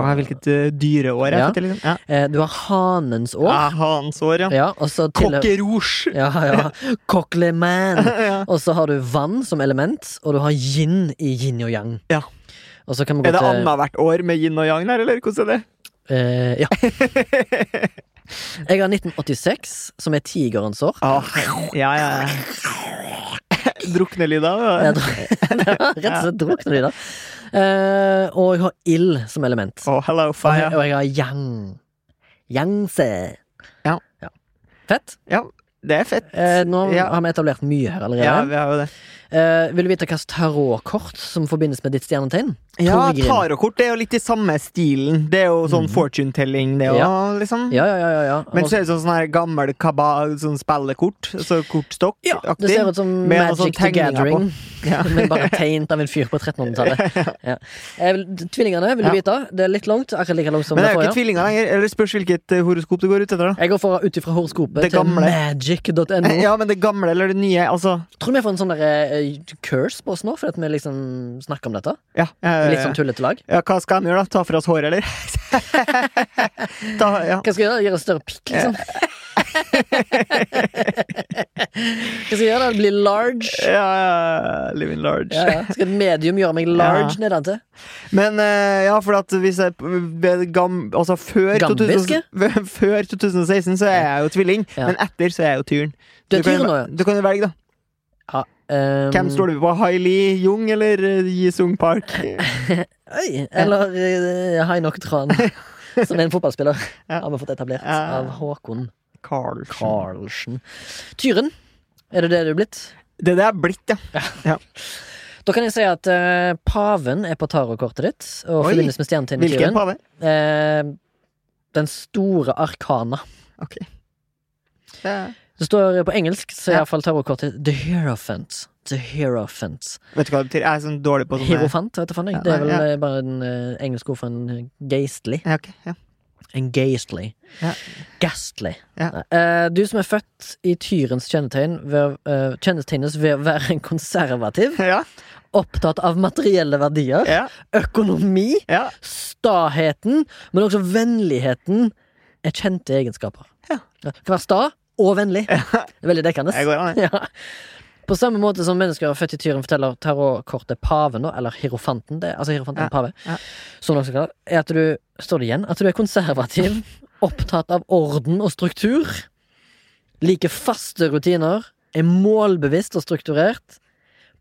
Speaker 1: Åh, hvilket uh, dyreår jeg
Speaker 2: Ja.
Speaker 1: fikk til, liksom. Ja.
Speaker 2: eh, Du har hanens år.
Speaker 1: Ja, hans år, ja.
Speaker 2: Ja, og så tilhører
Speaker 1: Coque rouge.
Speaker 2: Ja, ja. Cockle man.
Speaker 1: [LAUGHS] Ja.
Speaker 2: Og så har du vann som element, og du har yin i yin og yang.
Speaker 1: Ja.
Speaker 2: Og så kan vi gå
Speaker 1: Er det
Speaker 2: til
Speaker 1: annethvert år med yin og yang der, eller hvordan er det?
Speaker 2: eh,
Speaker 1: [LAUGHS]
Speaker 2: Ja. Jeg har 1986, som er tigerens år.
Speaker 1: Ah, Ja, ja, ja. [LAUGHS] Druknelyder.
Speaker 2: Jeg
Speaker 1: da.
Speaker 2: dro- [LAUGHS] Rett og slett drukner de da. Eh, og jeg har ild som element.
Speaker 1: Oh, hello,
Speaker 2: Og jeg,
Speaker 1: fire.
Speaker 2: og jeg har yang. Yangse.
Speaker 1: Ja.
Speaker 2: Fett.
Speaker 1: Ja, det er fett.
Speaker 2: Eh, nå
Speaker 1: Ja.
Speaker 2: har vi etablert mye her allerede.
Speaker 1: Ja, vi har jo det.
Speaker 2: Eh, vil du vite hvilket tarotkort som forbindes med ditt stjernetegn?
Speaker 1: Ja,
Speaker 2: Torgrim.
Speaker 1: tarotkort er jo litt i samme stilen. Det er jo sånn fortune telling, det òg, liksom.
Speaker 2: Mhm. Ja, ja, ja, ja, ja. Altså,
Speaker 1: Men
Speaker 2: Og-
Speaker 1: så er det sånn sånn her gammel kaba, sånn spillekort, så kortstokk-aktig.
Speaker 2: ja, det ser ut som
Speaker 1: med noen
Speaker 2: Magic the
Speaker 1: sånne tegninger
Speaker 2: Gathering.
Speaker 1: Ja.
Speaker 2: [LAUGHS] Men bare tegnet av en fyr på
Speaker 1: [LAUGHS]
Speaker 2: 1300-tallet. Ja. Eh, vil- Tvillingene, vil du vite? Det er litt langt. Akkurat like langt som
Speaker 1: Men det
Speaker 2: det
Speaker 1: er jo ikke
Speaker 2: forrige.
Speaker 1: tvillinger lenger. Eller spørs hvilket eh, horoskop du går ut etter, da.
Speaker 2: Jeg går for ut ifra horoskopet
Speaker 1: Det
Speaker 2: til
Speaker 1: gamle.
Speaker 2: magic.no.
Speaker 1: [LAUGHS] Ja, men det gamle eller det nye, altså.
Speaker 2: Tror du vi får en sånn der, eh, curse på oss nå, fordi at vi liksom snakker om dette?
Speaker 1: Ja, eh,
Speaker 2: Litt sånn tullete lag?
Speaker 1: ja, hva skal de gjøre, da? Ta fra oss håret, eller? [LAUGHS] Ta, ja.
Speaker 2: Hva skal jeg gjøre? Gjøre en større pikk, liksom? [LAUGHS] Hva skal jeg gjøre? da? Bli large?
Speaker 1: Ja, ja, living large.
Speaker 2: Ja, ja. Skal et medium gjøre meg large nedantil?
Speaker 1: Men eh, ja, for at hvis jeg ved gam, Altså før, [LAUGHS]
Speaker 2: Gambiske?
Speaker 1: 2000, før 2016 så er jeg jo tvilling,
Speaker 2: Ja.
Speaker 1: men etter så er jeg jo tyren.
Speaker 2: Du er
Speaker 1: kan jo-
Speaker 2: tyren nå, ja.
Speaker 1: Du kan jo velge, da.
Speaker 2: Um,
Speaker 1: Hvem står det på? Hailey Jung eller eh, Yi Sung
Speaker 2: [LAUGHS]
Speaker 1: Park?
Speaker 2: Oi, eller eh, Hainok Tran,
Speaker 1: [LAUGHS]
Speaker 2: som er en fotballspiller.
Speaker 1: Ja.
Speaker 2: Har vi fått etablert
Speaker 1: Ja.
Speaker 2: av Håkon
Speaker 1: Carl.
Speaker 2: Karlsen. Tyren, er det det du er blitt?
Speaker 1: Det er det jeg er blitt, ja.
Speaker 2: Da kan jeg si at eh, paven er på tarotkortet ditt, og
Speaker 1: Oi.
Speaker 2: forbindes med
Speaker 1: Hvilken
Speaker 2: stjernetegnetyven.
Speaker 1: pave?
Speaker 2: Eh, den store arkana.
Speaker 1: Ok. Det er-
Speaker 2: Det står på engelsk, så er
Speaker 1: Ja.
Speaker 2: iallfall tarotkortet The Hierophant. The Hierophant.
Speaker 1: Vet du hva det betyr? Jeg er sånn dårlig på sånne
Speaker 2: Hierofant, vet du faen jeg.
Speaker 1: Ja,
Speaker 2: Det er vel
Speaker 1: ja.
Speaker 2: eh, bare en eh, engelsk ord for en eh, geistlig.
Speaker 1: ja, ok, ja.
Speaker 2: En geistlig.
Speaker 1: Ja.
Speaker 2: Gastlig.
Speaker 1: Ja.
Speaker 2: Nei. Eh, du som er født i tyrens kjennetegn, ved, eh, kjennetegnes ved å være en konservativ,
Speaker 1: ja,
Speaker 2: opptatt av materielle verdier,
Speaker 1: ja,
Speaker 2: økonomi,
Speaker 1: ja.
Speaker 2: staheten, men også vennligheten er kjente egenskaper.
Speaker 1: Ja.
Speaker 2: Det kan være sta og vennlig. Det er veldig dekkende.
Speaker 1: Jeg går an, jeg.
Speaker 2: Ja. På samme måte som mennesker født i tyren forteller tarotkortet paven, da, eller hierofanten, det, altså hierofanten
Speaker 1: Ja,
Speaker 2: pave,
Speaker 1: ja.
Speaker 2: som noen skal kalle det, er at du står det igjen, at du er konservativ, opptatt av orden og struktur, liker faste rutiner, er målbevisst og strukturert.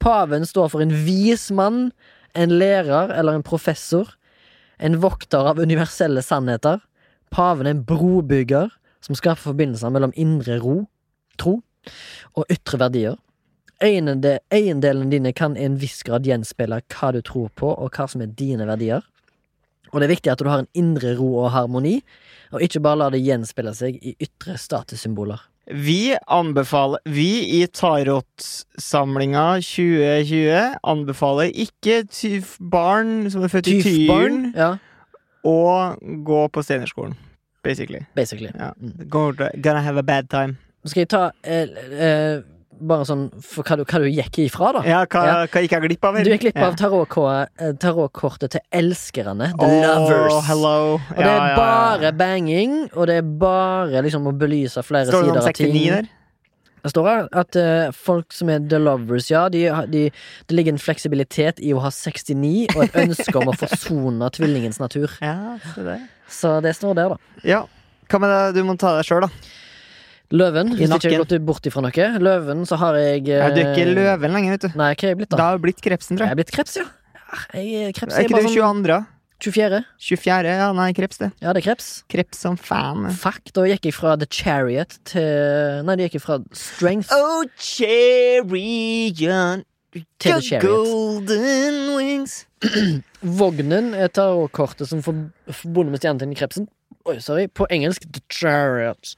Speaker 2: Paven står for en vis mann, en lærer eller en professor, en vokter av universelle sannheter. Paven er en brobygger som skaper forbindelser mellom indre ro, tro og ytre verdier. Eiende- Eiendelene dine kan i en viss grad gjenspeile hva du tror på, og hva som er dine verdier. Og det er viktig at du har en indre ro og harmoni, og ikke bare lar det gjenspeile seg i ytre statussymboler.
Speaker 1: Vi anbefaler Vi i Tarotsamlinga 2020 anbefaler ikke tyf barn som er født i Tyren,
Speaker 2: Tyfbarn, ja,
Speaker 1: å gå på Steinerskolen. Basically.
Speaker 2: basically.
Speaker 1: Ja.
Speaker 2: Mm.
Speaker 1: Go- Gonna have a bad time.
Speaker 2: Nå Skal jeg ta eh, eh, bare sånn for hva du, hva du gikk ifra, da?
Speaker 1: Ah, Ja, hva,
Speaker 2: Ja.
Speaker 1: hva gikk jeg glipp av? her?
Speaker 2: Du gikk glipp
Speaker 1: Ja.
Speaker 2: av tarotkå- eh, tarotkortet til elskerne, the
Speaker 1: Åh,
Speaker 2: lovers.
Speaker 1: hello.
Speaker 2: Og det er bare banging, og det er bare liksom å belyse flere
Speaker 1: Står det
Speaker 2: sider
Speaker 1: noe om
Speaker 2: av ting.
Speaker 1: 69 der?
Speaker 2: Det står her at eh, folk som er the lovers, ja, de, har- de, det ligger en fleksibilitet i å ha 69 og et ønske om å forsone tvillingens natur.
Speaker 1: Ja, se der.
Speaker 2: Så det står der, da.
Speaker 1: Ja. Hva med det du må ta deg sjøl, da?
Speaker 2: Løven, hvis ikke jeg har
Speaker 1: nakken.
Speaker 2: gått bort ifra noe. Løven, så har jeg eh,
Speaker 1: Ja, du er ikke løven lenger, vet du.
Speaker 2: Nei, hva er jeg blitt,
Speaker 1: Da
Speaker 2: da?
Speaker 1: har du blitt krepsen, tror
Speaker 2: Jeg
Speaker 1: jeg.
Speaker 2: er blitt kreps, ja. Ja, Jeg, er- kreps
Speaker 1: Er
Speaker 2: er
Speaker 1: ikke
Speaker 2: bare
Speaker 1: du
Speaker 2: sånn
Speaker 1: 22.?
Speaker 2: 24.
Speaker 1: 24.? Ja, nei, kreps, det.
Speaker 2: Ja, det er kreps.
Speaker 1: Kreps som fan.
Speaker 2: Fuck, da gikk jeg fra The Chariot til Nei, det gikk jeg fra Strength
Speaker 1: Oh, chariot,
Speaker 2: til The Chariot.
Speaker 1: golden wings.
Speaker 2: Vognen er tarotkortet som for- forbundet med stjernetegnet krepsen. Oi, sorry. På engelsk The Chariot.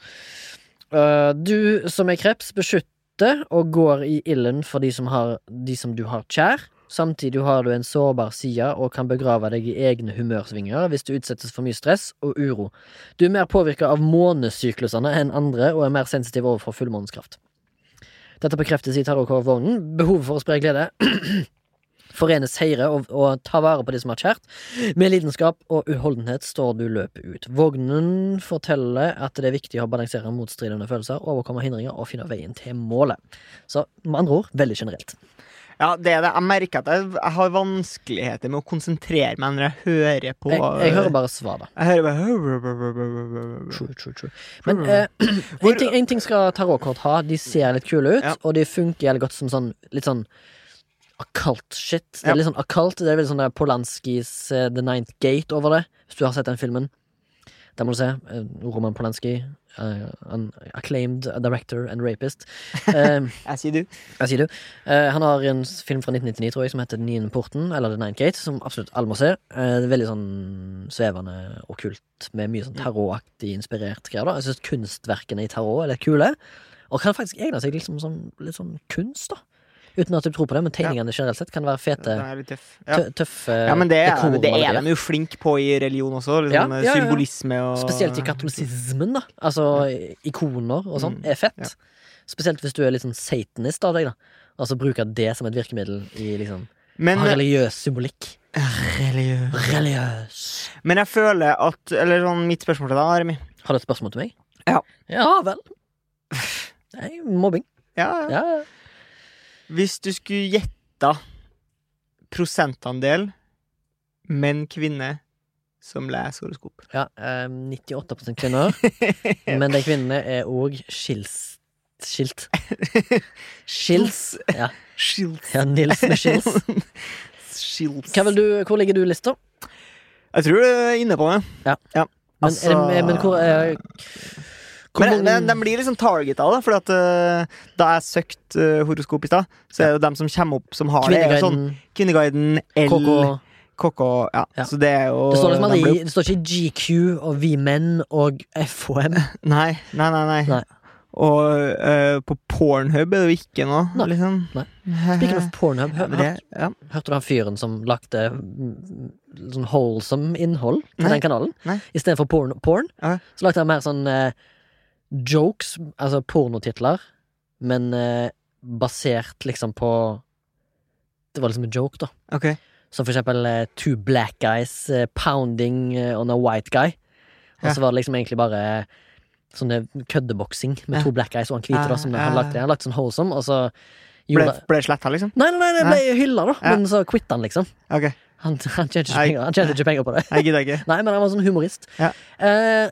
Speaker 2: Eh, du som er kreps, beskytter og går i ilden for de som, har, de som du har kjær. Samtidig har du en sårbar side og kan begrave deg i egne humørsvinger hvis du utsettes for mye stress og uro. Du er mer påvirka av månesyklusene enn andre og er mer sensitiv overfor fullmåneskraft. Dette bekreftes i tarotkortvognen. Behovet for å spre glede Forene seire og, og ta vare på de som har kjært. Med lidenskap og uholdenhet står du løpet ut. Vognen forteller at det er viktig å balansere motstridende følelser, overkomme hindringer og finne veien til målet. Så med andre ord veldig generelt.
Speaker 1: Ja, det er det. Jeg merker at jeg, jeg har vanskeligheter med å konsentrere meg når jeg hører på
Speaker 2: Jeg, jeg hører bare svar, da.
Speaker 1: Jeg hører bare
Speaker 2: True, true, true. Men eh, [CLEARS THROAT] en, ting, en ting skal tarotkort ha. De ser litt kule ut,
Speaker 1: Ja.
Speaker 2: og de funker jævlig godt som sånn litt sånn Akkult shit. Det
Speaker 1: Ja.
Speaker 2: er litt sånn akkult. Det er veldig sånn der Polanskis eh, The Ninth Gate over det, hvis du har sett den filmen. Der må du se. eh, Roman Polanski. eh, an acclaimed director and
Speaker 1: [LAUGHS]
Speaker 2: rapist. Eh,
Speaker 1: Jeg sier du.
Speaker 2: jeg sier du. Eh, han har en s- film fra 1999 tror jeg, som heter Den niende porten, eller The Ninth Gate, som absolutt alle må se. Eh, det er veldig sånn svevende og kult, med mye
Speaker 1: Mm.
Speaker 2: sånn tarotaktig inspirert greier. da. Jeg syns kunstverkene i tarot er litt kule, og kan faktisk egne seg liksom som litt sånn kunst, da. Uten at du tror på det, men tegningene generelt sett kan være
Speaker 1: Den
Speaker 2: fete,
Speaker 1: er litt tøff. Ja.
Speaker 2: tø- tøffe
Speaker 1: Ja, men det, er-
Speaker 2: dekormalerier.
Speaker 1: det er de jo flink på i religion også. Liksom,
Speaker 2: Ja, ja, ja.
Speaker 1: Symbolisme og
Speaker 2: Spesielt i katolisismen, da. Altså i- ikoner og sånn,
Speaker 1: Mm,
Speaker 2: er fett.
Speaker 1: ja.
Speaker 2: Spesielt hvis du er litt sånn satanist av deg, da. Altså bruker det som et virkemiddel i liksom
Speaker 1: Men, eh,
Speaker 2: Har religiøs symbolikk.
Speaker 1: Religiø-
Speaker 2: Religiøs.
Speaker 1: men jeg føler at Eller sånn mitt spørsmål til deg, Armi.
Speaker 2: Har du et spørsmål til meg?
Speaker 1: Ja.
Speaker 2: Ja vel. Nei, mobbing.
Speaker 1: Ja, ja.
Speaker 2: Ja, ja.
Speaker 1: Hvis du skulle gjette prosentandel menn, kvinne, som leser horoskop
Speaker 2: ja eh, 98
Speaker 1: [LAUGHS]
Speaker 2: kvinner. Men de kvinnene er òg skils... Skilt. Skils. Ja.
Speaker 1: Skills.
Speaker 2: ja, Nils med skils.
Speaker 1: Skills.
Speaker 2: Hva vil du, hvor ligger du i lista?
Speaker 1: Jeg tror du er inne på det.
Speaker 2: Ja. Men, er det, men hvor, eh, Hvor
Speaker 1: Altså- Men,
Speaker 2: mange-
Speaker 1: men de blir liksom targeta, da. For at, eh, da jeg søkte eh, horoskop i stad, så er det jo dem som kommer opp som har det. er jo Sånn,
Speaker 2: Kvinneguiden,
Speaker 1: Kvinneguiden, L,
Speaker 2: KK
Speaker 1: KK ja.
Speaker 2: Ja.
Speaker 1: Så det er jo
Speaker 2: Det står liksom
Speaker 1: de
Speaker 2: aldri
Speaker 1: blir
Speaker 2: i- det står ikke GQ og Vi Menn og FHM.
Speaker 1: jo- Nei, nei, nei. nei.
Speaker 2: Nei.
Speaker 1: Og eh, på Pornhub er det jo ikke noe,
Speaker 2: Nei.
Speaker 1: liksom.
Speaker 2: Nei. Speaking
Speaker 1: Nei.
Speaker 2: of Pornhub, hør,
Speaker 1: [LAUGHS] Det, ja.
Speaker 2: hørte du han fyren som lagde mm, sånn wholesome innhold på
Speaker 1: Nei.
Speaker 2: den kanalen?
Speaker 1: Nei.
Speaker 2: Istedenfor porn, porn
Speaker 1: Ja.
Speaker 2: så lagde han mer sånn eh, jokes, altså pornotitler, men eh, basert liksom på Det var liksom en joke, da.
Speaker 1: Ok.
Speaker 2: Som for eksempel eh, Two black guys eh, pounding eh, on a white guy. Og
Speaker 1: Ja.
Speaker 2: så var det liksom egentlig bare sånne køddeboksing med
Speaker 1: Ja.
Speaker 2: to black guys og han hvite.
Speaker 1: Ja,
Speaker 2: da, som Han
Speaker 1: ja.
Speaker 2: lagde Han lagde sånn wholesome, og så
Speaker 1: Ble,
Speaker 2: gjorde
Speaker 1: ble det sletta, liksom?
Speaker 2: Nei, nei, nei, det ble hylla, da.
Speaker 1: Ja.
Speaker 2: Men så quitta han, liksom.
Speaker 1: Ok.
Speaker 2: Han, han tjente ikke
Speaker 1: Nei.
Speaker 2: penger, han tjente ikke penger på det.
Speaker 1: Jeg gidder
Speaker 2: [LAUGHS]
Speaker 1: ikke.
Speaker 2: Nei, men han var sånn humorist.
Speaker 1: Ja.
Speaker 2: Eh,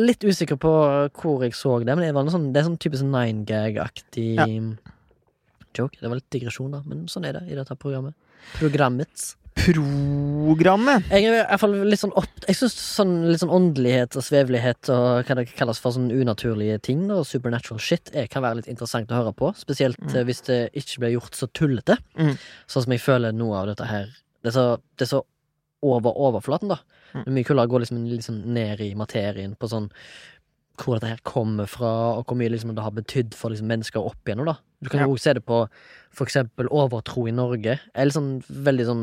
Speaker 2: litt usikker på hvor jeg så det, men det, var noe sånn, det er sånn typisk nine gag-aktig joke. Det var litt digresjon, da, men sånn er det i dette programmet. Programmet.
Speaker 1: Programmet.
Speaker 2: Jeg er i hvert fall litt sånn opp Jeg synes sånn, litt sånn åndelighet og svevelighet og hva det kalles for sånn unaturlige ting da, og supernatural shit er, kan være litt interessant å høre på. Spesielt eh, hvis det ikke blir gjort så tullete.
Speaker 1: Mm.
Speaker 2: Sånn som jeg føler noe av dette her Det er så, det er så over overflaten, da.
Speaker 1: Mm.
Speaker 2: Det er mye kulere å gå liksom, liksom ned i materien på sånn hvor dette her kommer fra, og hvor mye liksom, det har betydd for liksom, mennesker opp igjennom. da. Du kan
Speaker 1: Ja.
Speaker 2: jo også se det på for eksempel overtro i Norge. Eller sånn veldig sånn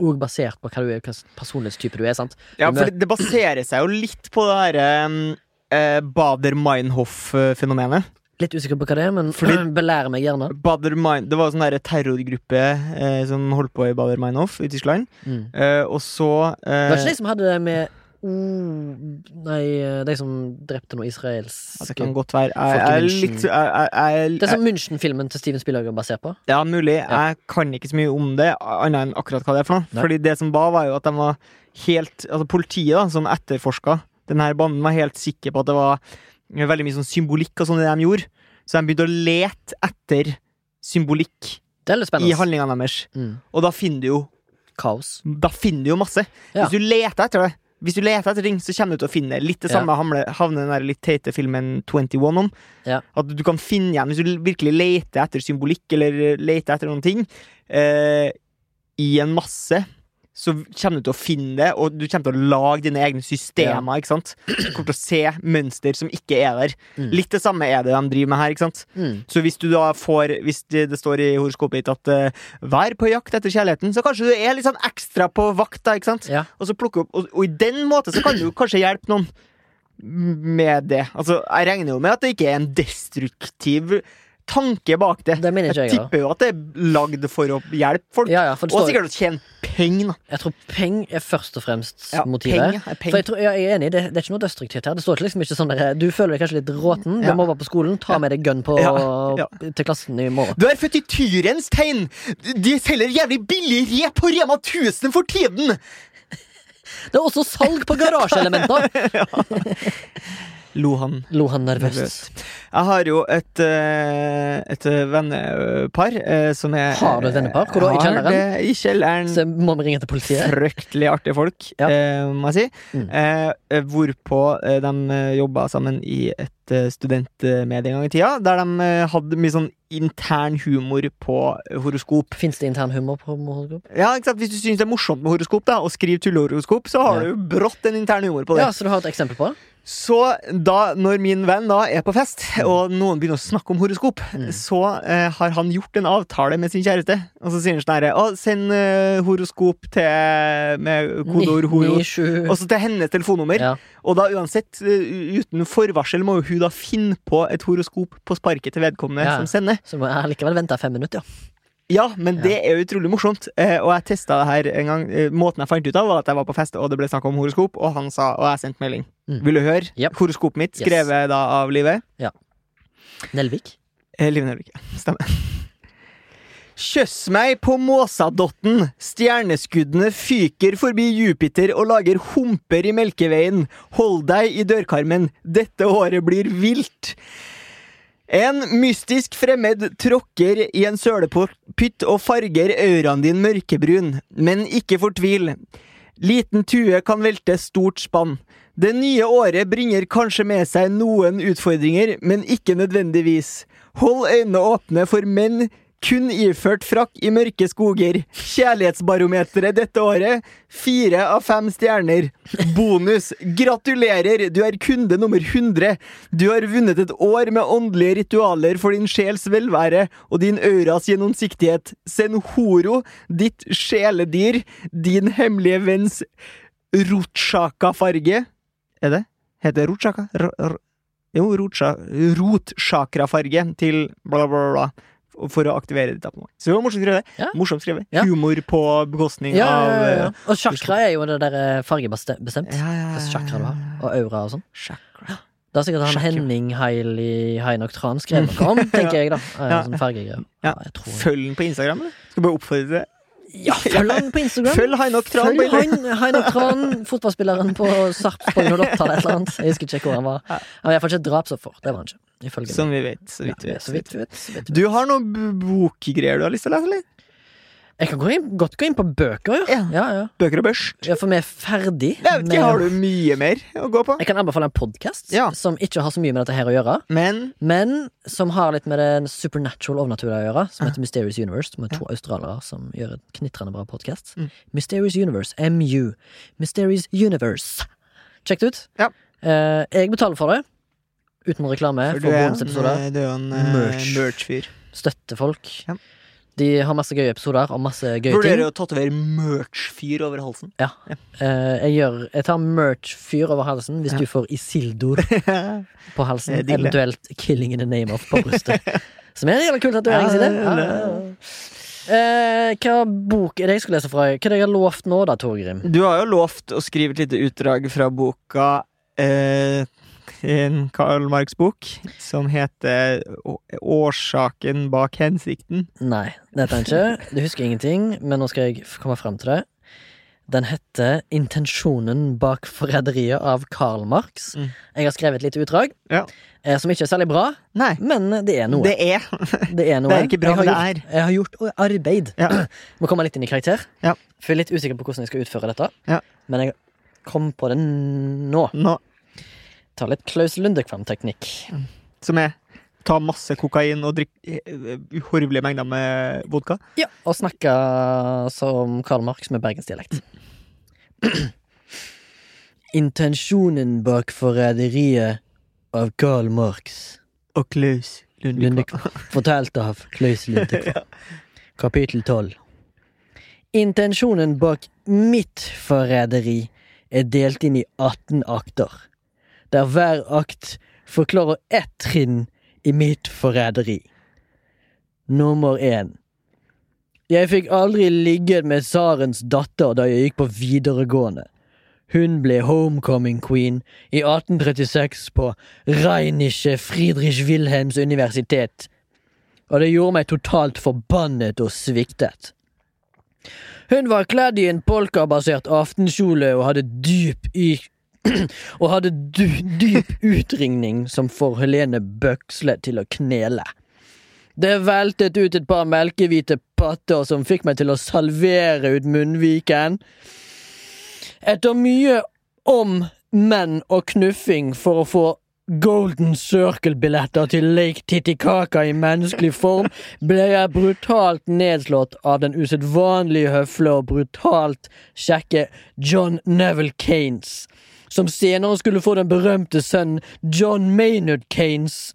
Speaker 2: og basert på hva du er, hva slags personlighetstype du er. sant?
Speaker 1: Ja, for det baserer seg jo litt på det herre eh, Bader-Meinhof-fenomenet.
Speaker 2: Litt usikker på hva det er, men
Speaker 1: Fordi-
Speaker 2: [CLEARS THROAT] belærer meg gjerne.
Speaker 1: Bader-Mein Det var en sånn her terrorgruppe eh, som holdt på i Bader-Meinhof i Tyskland.
Speaker 2: Mm.
Speaker 1: Eh, og så eh,
Speaker 2: Det var ikke de som hadde det med oh, Nei, eh, de som drepte noe israelsk
Speaker 1: ja, Det kan godt være. Altså, Jeg, jeg, er
Speaker 2: Folkemünchen.
Speaker 1: litt, jeg, jeg, jeg,
Speaker 2: Det er sånn- som München-filmen til Steven Spielberg er basert på.
Speaker 1: Ja, mulig.
Speaker 2: Ja.
Speaker 1: Jeg kan ikke så mye om det, annet enn akkurat hva det er for noe.
Speaker 2: Nei.
Speaker 1: Fordi det som var, var jo at de var helt Altså, politiet da, som etterforska denne banden, var helt sikker på at det var veldig mye sånn symbolikk og sånn i det de gjorde. Så de begynte å lete etter symbolikk
Speaker 2: Det er litt
Speaker 1: i
Speaker 2: spennende.
Speaker 1: handlingene deres.
Speaker 2: Mm.
Speaker 1: Og da finner du jo
Speaker 2: Kaos.
Speaker 1: Da finner du jo masse.
Speaker 2: Ja.
Speaker 1: Hvis du leter etter det, Hvis du leter etter ting, så kommer du til å finne det. Litt det
Speaker 2: Ja.
Speaker 1: samme hamle- havner den der litt teite filmen 21 om.
Speaker 2: Ja.
Speaker 1: At du kan finne igjen, hvis du virkelig leter etter symbolikk, eller eh, leter etter noen ting, eh, i en masse, så kommer du til å finne det, og du kommer til å lage dine egne systemer. ikke sant? Du kommer til å se mønster som ikke er der.
Speaker 2: Mm.
Speaker 1: Litt det samme er det de driver med her. ikke sant?
Speaker 2: Mm.
Speaker 1: Så hvis du da får Hvis det, det står i horoskopet ditt at eh, 'vær på jakt etter kjærligheten', så kanskje du er litt sånn ekstra på vakt, da, ikke sant?
Speaker 2: Ja.
Speaker 1: Og så plukke opp Og, og i den måten så kan du jo kanskje hjelpe noen med det. Altså, jeg regner jo med at det ikke er en destruktiv tanke bak det.
Speaker 2: Det mener ikke
Speaker 1: Jeg
Speaker 2: jeg, da.
Speaker 1: tipper jo at det er lagd for å hjelpe folk.
Speaker 2: Ja, ja, for det
Speaker 1: og
Speaker 2: står,
Speaker 1: sikkert å tjene penger. da.
Speaker 2: jeg tror peng er først og fremst
Speaker 1: Ja,
Speaker 2: motivet.
Speaker 1: penger er
Speaker 2: For
Speaker 1: penger.
Speaker 2: jeg, tror, ja, jeg er enig, det, det er ikke noe destruktivt her. Det står ikke liksom ikke sånn der, Du føler deg kanskje litt råten, du
Speaker 1: Ja.
Speaker 2: må være på skolen, ta med deg gun på,
Speaker 1: Ja, ja.
Speaker 2: til klassen i morgen.
Speaker 1: Du er født i tyrens tegn! De selger jævlig billig rep på Rema 1000 for tiden!
Speaker 2: Det er også salg på
Speaker 1: [LAUGHS]
Speaker 2: garasjeelementer!
Speaker 1: Lo han
Speaker 2: Lo han nervøst.
Speaker 1: Jeg har jo et, eh, et vennepar eh, som er
Speaker 2: Har du et vennepar? Hvor da? I
Speaker 1: Har
Speaker 2: kjelleren?
Speaker 1: det I kjelleren.
Speaker 2: Mm. Så må vi ringe til politiet.
Speaker 1: Fryktelig artige folk,
Speaker 2: Ja.
Speaker 1: eh, må jeg si.
Speaker 2: Mm.
Speaker 1: Eh, hvorpå eh, de eh, jobba sammen i et eh, studentmedie en gang i tida, der de eh, hadde mye sånn intern humor på horoskop.
Speaker 2: Fins det intern humor på Mohorgrupp?
Speaker 1: Ja, ikke sant? Hvis du syns det er morsomt med horoskop, da, og skriver tullehoroskop, så har
Speaker 2: Ja.
Speaker 1: du jo brått en intern humor på det.
Speaker 2: Ja, så du har et eksempel på det?
Speaker 1: Så da, når min venn da er på fest, og noen begynner å snakke om horoskop,
Speaker 2: Mm.
Speaker 1: så eh, har han gjort en avtale med sin kjæreste. Og så sier han sånn herre Å, send eh, horoskop til med kodeord horo.
Speaker 2: sju
Speaker 1: Også til hennes telefonnummer.
Speaker 2: ja.
Speaker 1: Og da uansett, eh, uten forvarsel, må jo hun da finne på et horoskop på sparket til vedkommende
Speaker 2: Ja.
Speaker 1: som sender.
Speaker 2: Så må jeg likevel vente fem minutter, ja.
Speaker 1: Ja, men det er jo utrolig morsomt. Eh, og jeg testa det her en gang. Eh, måten jeg fant ut av, var at jeg var på fest, og det ble snakk om horoskop, og han sa Og jeg sendte melding.
Speaker 2: Mm.
Speaker 1: Vil du høre?
Speaker 2: Yep.
Speaker 1: Horoskopet mitt,
Speaker 2: Yes.
Speaker 1: skrevet da av Live.
Speaker 2: Nelvik?
Speaker 1: Eh, Liv Nelvik. ja. Stemmer. Kjøss meg på måsadotten, stjerneskuddene fyker forbi Jupiter og lager humper i Melkeveien. Hold deg i dørkarmen, dette året blir vilt. En mystisk fremmed tråkker i en sølepytt og farger auraen din mørkebrun. Men ikke fortvil. Liten tue kan velte stort spann. Det nye året bringer kanskje med seg noen utfordringer, men ikke nødvendigvis. Hold øynene åpne for menn kun iført frakk i mørke skoger. Kjærlighetsbarometeret dette året fire av fem stjerner. Bonus! Gratulerer! Du er kunde nummer 100. Du har vunnet et år med åndelige ritualer for din sjels velvære og din auras gjennomsiktighet. Send horo, ditt sjeledyr, din hemmelige venns rotsjaka-farge Er det? Heter det rotsjaka? R r jo, rotsja rotsjakra-farge til bla, bla, bla. For å aktivere ditt abonnement. Så det var morsomt skrevet.
Speaker 2: Ja.
Speaker 1: Morsomt skrevet.
Speaker 2: Ja.
Speaker 1: Humor på bekostning
Speaker 2: Ja,
Speaker 1: av
Speaker 2: ja, ja, ja.
Speaker 1: eh,
Speaker 2: Og chakra er jo det der eh, fargebestemt.
Speaker 1: ja, ja,
Speaker 2: Hvilken chakra du har. Og aura og sånn.
Speaker 1: Chakra.
Speaker 2: Det har sikkert han
Speaker 1: Chakra.
Speaker 2: Henning Hailey Hainok Tran skrevet
Speaker 1: [LAUGHS]
Speaker 2: noe om, tenker jeg, da. Eh,
Speaker 1: Ja.
Speaker 2: Sånn fargegreier.
Speaker 1: Ja.
Speaker 2: jeg tror
Speaker 1: Følg den på Instagram, eller? Skal bare oppfordre til det.
Speaker 2: Ja, følg han på Instagram.
Speaker 1: Følg Hainok Tran på
Speaker 2: Følg han, Hainok Tran, fotballspilleren på
Speaker 1: [LAUGHS]
Speaker 2: Sarpsborg 08 eller et eller annet. Jeg husker ikke hvor han var. Han var iallfall ikke et drapsoffer. Det var han ikke. Ifølge
Speaker 1: Som vi vet. Så
Speaker 2: meg.
Speaker 1: Sånn vidt vi
Speaker 2: Ja,
Speaker 1: vet.
Speaker 2: så vidt vi vet. Så vidt vi vet.
Speaker 1: Du har noen b- bokgreier du har lyst til å lese, eller?
Speaker 2: Jeg kan gå inn, godt gå inn på bøker, ja.
Speaker 1: Ja.
Speaker 2: Ja, ja.
Speaker 1: Bøker og børst?
Speaker 2: ja for vi er ferdig.
Speaker 1: Jeg vet
Speaker 2: med-
Speaker 1: ikke, Har du mye mer å gå på?
Speaker 2: Jeg kan anbefale en podkast
Speaker 1: Ja.
Speaker 2: som ikke har så mye med dette her å gjøre.
Speaker 1: Men
Speaker 2: Men som har litt med den supernatural overnaturlige å gjøre, som
Speaker 1: Ah.
Speaker 2: heter Mysterious Universe. Med to australiere som gjør en knitrende bra podkast.
Speaker 1: Mm.
Speaker 2: Mysterious Universe, MU. Mysterious Universe. Sjekk det ut.
Speaker 1: Ja.
Speaker 2: Eh, jeg betaler for det. Uten reklame
Speaker 1: for
Speaker 2: for
Speaker 1: du er
Speaker 2: bonus
Speaker 1: en,
Speaker 2: episoder.
Speaker 1: eh, du er jo en eh,
Speaker 2: Merch.
Speaker 1: merch-fyr.
Speaker 2: Støtter folk.
Speaker 1: Ja.
Speaker 2: De har masse gøye episoder om masse gøye ting.
Speaker 1: Vurderer å tatovere merch-fyr over
Speaker 2: [LAUGHS]
Speaker 1: halsen.
Speaker 2: Ja. Eh, jeg, gjør, jeg tar merch-fyr over halsen hvis
Speaker 1: Ja.
Speaker 2: du får Isildor på halsen.
Speaker 1: Jeg digger Eh, det.
Speaker 2: Eventuelt 'Killing in the name of' på
Speaker 1: [LAUGHS]
Speaker 2: brystet. Som er en jævla kul tatovering. Ja,
Speaker 1: Ja, det er det.
Speaker 2: Eh, hva bok er det jeg skulle lese fra? Hva er det jeg har lovt nå, da, Torgrim?
Speaker 1: Du har jo lovt å skrive et lite utdrag fra boka eh, en Karl Marx bok som heter Å- 'Årsaken bak hensikten'.
Speaker 2: Nei, dette er ikke. Du husker ingenting, men nå skal jeg f- komme fram til det. Den heter 'Intensjonen bak forræderiet' av Karl Marx.
Speaker 1: Mm.
Speaker 2: Jeg har skrevet et lite utdrag,
Speaker 1: Ja.
Speaker 2: eh, som ikke er særlig bra,
Speaker 1: Nei,
Speaker 2: men det er noe.
Speaker 1: det er
Speaker 2: Det er noe.
Speaker 1: Det er ikke bra,
Speaker 2: jeg, har
Speaker 1: men det
Speaker 2: gjort, jeg har gjort arbeid.
Speaker 1: Ja.
Speaker 2: Må komme litt inn i karakter.
Speaker 1: Ja.
Speaker 2: For jeg er litt usikker på hvordan jeg skal utføre dette.
Speaker 1: Ja.
Speaker 2: Men jeg kom på det nå.
Speaker 1: nå
Speaker 2: Ta litt Klaus Lundekvam-teknikk.
Speaker 1: som er ta masse kokain og drikke eh, uhorvelige mengder med vodka.
Speaker 2: Ja. Og snakke som Karl Marx med bergensdialekt.
Speaker 1: Mm.
Speaker 2: [CLEARS THROAT] Intensjonen bak forræderiet av Karl Marx.
Speaker 1: Og Klaus
Speaker 2: Lundekvam. Fortalt av Klaus Lundekvam. Kapittel 12. Intensjonen bak mitt forræderi er delt inn i 18 akter, der hver akt forklarer ett trinn i mitt forræderi. Nummer 1. Jeg fikk aldri ligge med tsarens datter da jeg gikk på videregående. Hun ble homecoming queen i 1836 på Rheinische Friedrich Wilhelms universitet, og det gjorde meg totalt forbannet og sviktet. Hun var kledd i en polkabasert aftenkjole og hadde dyp y... [CLEARS THROAT] og hadde dy dyp utringning som får Helene Bøksle til å knele. Det veltet ut et par melkehvite patter som fikk meg til å salvere ut munnviken. Etter mye om, men og knuffing for å få Golden Circle-billetter til Lake Titicaca i menneskelig form ble jeg brutalt nedslått av den usedvanlig høfle og brutalt kjekke John Neville Kanes, som senere skulle få den berømte sønnen John Maynard Kanes.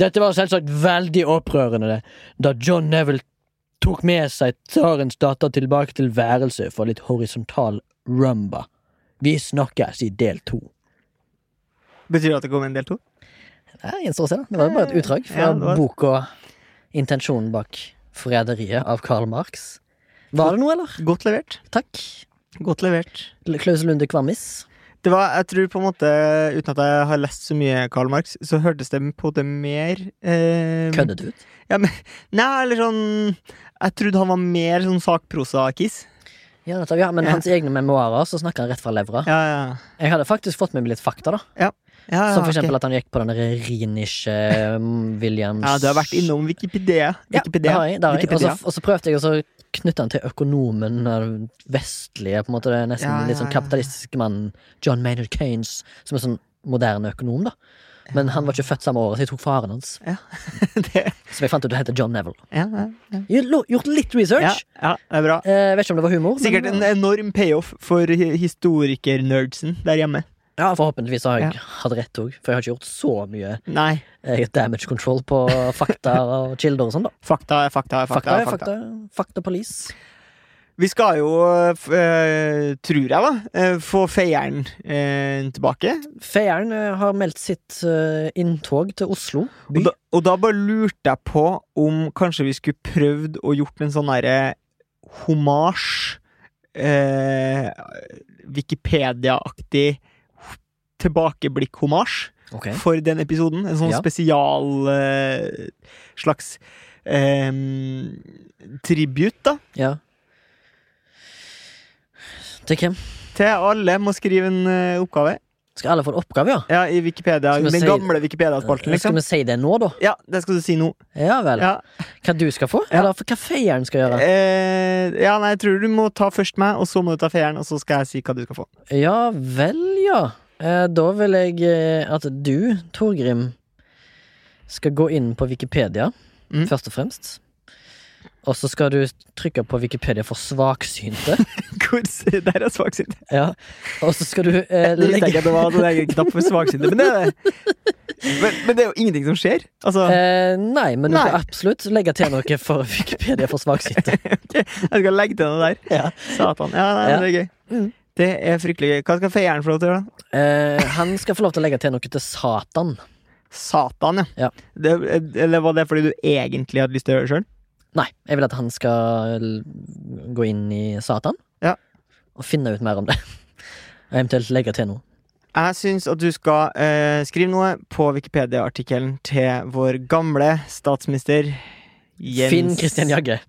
Speaker 2: Dette var selvsagt veldig opprørende, da John Neville tok med seg tsarens datter tilbake til værelset for litt horisontal rumba. Vi snakkes i del to.
Speaker 1: Betyr det at det kom en del to?
Speaker 2: Nei, gjenstår å se. da. Det var jo bare et utdrag fra
Speaker 1: Ja, det var-
Speaker 2: boka 'Intensjonen bak forræderiet' av Karl Marx. Var det noe, eller?
Speaker 1: Godt levert.
Speaker 2: Takk.
Speaker 1: Godt levert.
Speaker 2: L- Klaus Lunde Kvammis.
Speaker 1: Det var, jeg tror på en måte, uten at jeg har lest så mye Karl Marx, så hørtes det på en måte mer eh,
Speaker 2: Mm. Køddet ut.
Speaker 1: Ja, men, nei, eller sånn Jeg trodde han var mer sånn sakprosa-kiss.
Speaker 2: Ja, nettopp, ja, men
Speaker 1: Ja.
Speaker 2: hans egne memoarer, så snakker han rett fra levra.
Speaker 1: Ja, ja.
Speaker 2: Jeg hadde faktisk fått med meg litt fakta, da.
Speaker 1: ja, ja
Speaker 2: Som for
Speaker 1: Ah, ok.
Speaker 2: eksempel at han gikk på den der Rinische eh, Williams
Speaker 1: Ja, du har vært innom
Speaker 2: Ja,
Speaker 1: Wikipedia.
Speaker 2: det
Speaker 1: Wikipedia.
Speaker 2: har jeg. Det har jeg. Og
Speaker 1: Wikipedia.
Speaker 2: så- Og så prøvde jeg å så knytter han til økonomen, den vestlige, på en måte, det er nesten
Speaker 1: Ja, ja,
Speaker 2: litt sånn
Speaker 1: ja, ja.
Speaker 2: kapitalistiske mannen John Maynard Keynes, som er sånn moderne økonom, da. Men han var ikke født samme året, så jeg tok faren hans.
Speaker 1: [LAUGHS] det,
Speaker 2: Som jeg fant ut heter John Neville.
Speaker 1: ja, ja, ja.
Speaker 2: Jeg lo- Gjort litt
Speaker 1: ja,
Speaker 2: research.
Speaker 1: ja, det er bra.
Speaker 2: Eh, vet ikke om det var humor. men-
Speaker 1: Sikkert en enorm payoff for hi- historiker-nerdsen der hjemme.
Speaker 2: Ja, Forhåpentligvis har jeg hatt rett òg, for jeg har ikke gjort så mye
Speaker 1: Nei,
Speaker 2: eh, damage control på fakta og kilder og sånn, da.
Speaker 1: fakta er fakta er
Speaker 2: Fakta
Speaker 1: fakta.
Speaker 2: er
Speaker 1: er fakta.
Speaker 2: fakta. Fakta police.
Speaker 1: Vi skal jo, eh, f- eh, tror jeg da, eh, få feieren eh, tilbake.
Speaker 2: Feieren eh, har meldt sitt eh, inntog til Oslo
Speaker 1: Og
Speaker 2: by.
Speaker 1: da, og da bare lurte jeg på om kanskje vi skulle prøvd å gjort en sånn derre homasj eh, Wikipedia-aktig tilbakeblikk-homasj
Speaker 2: Ok.
Speaker 1: for den episoden. En sånn
Speaker 2: Ja.
Speaker 1: spesial eh, slags eh, tribut, da.
Speaker 2: Ja. Til hvem?
Speaker 1: Til alle må skrive en eh, oppgave.
Speaker 2: Skal alle få en oppgave, ja?
Speaker 1: Ja, i Wikipedia.
Speaker 2: Skal vi
Speaker 1: Den
Speaker 2: si-
Speaker 1: gamle Wikipedia-spalten,
Speaker 2: Skal
Speaker 1: liksom.
Speaker 2: vi si det nå, da?
Speaker 1: Ja, det skal du si nå.
Speaker 2: Ja vel.
Speaker 1: Ja.
Speaker 2: Hva du skal få? Eller hva feieren skal gjøre?
Speaker 1: Eh, ja, nei, jeg tror du må ta først meg, og så må du ta feeren, og så skal jeg si hva du
Speaker 2: [LAUGHS]
Speaker 1: skal få.
Speaker 2: Ja vel, ja. Eh, Da vil jeg eh, at du, Torgrim, skal gå inn på Wikipedia,
Speaker 1: Mm.
Speaker 2: først og fremst. Og så skal du trykke på Wikipedia for
Speaker 1: [LAUGHS]
Speaker 2: svaksynte.
Speaker 1: Hvor, der er svaksynt.
Speaker 2: ja. Og så skal du eh,
Speaker 1: Det visste jeg
Speaker 2: legge
Speaker 1: ikke at det var en egen knapp for svaksynte, men det
Speaker 2: [LAUGHS]
Speaker 1: er det. Men, men det er jo ingenting som skjer. Altså,
Speaker 2: eh, Nei, men du
Speaker 1: Nei.
Speaker 2: kan absolutt legge til noe for Wikipedia for svaksynte.
Speaker 1: jeg skal legge til noe der.
Speaker 2: ja.
Speaker 1: Satan. Ja, nei, men det er gøy.
Speaker 2: Mm.
Speaker 1: Det er fryktelig gøy. Hva skal feieren få lov til å gjøre, da?
Speaker 2: eh, han skal få lov til å legge til noe til Satan.
Speaker 1: Satan, ja.
Speaker 2: Ja.
Speaker 1: Det, eller var det fordi du egentlig hadde lyst til å gjøre det sjøl?
Speaker 2: Nei, jeg vil at han skal l- gå inn i Satan
Speaker 1: Ja.
Speaker 2: og finne ut mer om det. Og eventuelt legge til noe.
Speaker 1: Jeg syns at du skal eh, skrive noe på Wikipedia-artikkelen til vår gamle statsminister Jens
Speaker 2: Finn Christian Jagge.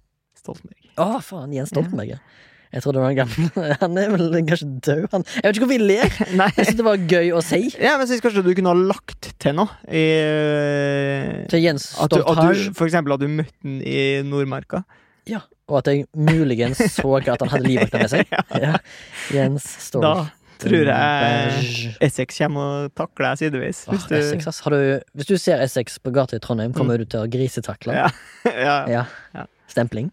Speaker 1: Stoltenberg. [LAUGHS]
Speaker 2: Å, faen, Jens Stoltenberg. ja. Jeg trodde det var en gammel [LAUGHS] Han er vel kanskje død, han. Jeg vet ikke hvor vi ler.
Speaker 1: Nei.
Speaker 2: Jeg synes det var gøy å si.
Speaker 1: Ja, men jeg synes kanskje du kunne ha lagt til noe. I,
Speaker 2: Til Jens
Speaker 1: at du, at du,
Speaker 2: Stoltage,
Speaker 1: for eksempel at du møtte den i Nordmarka.
Speaker 2: og at jeg muligens så at han hadde livvakta
Speaker 1: [LAUGHS]
Speaker 2: med seg. Ja. Jens
Speaker 1: Da
Speaker 2: Stoltenberg.
Speaker 1: tror jeg Essex kommer og takler deg sideveis.
Speaker 2: Åh,
Speaker 1: Hvis du,
Speaker 2: Ah,
Speaker 1: Mm.
Speaker 2: Essex, ass. Har du, hvis du ser Essex på gata i Trondheim, kommer du til å grisetakle?
Speaker 1: Ja. [LAUGHS] ja.
Speaker 2: Ja.
Speaker 1: Ja.
Speaker 2: Stempling.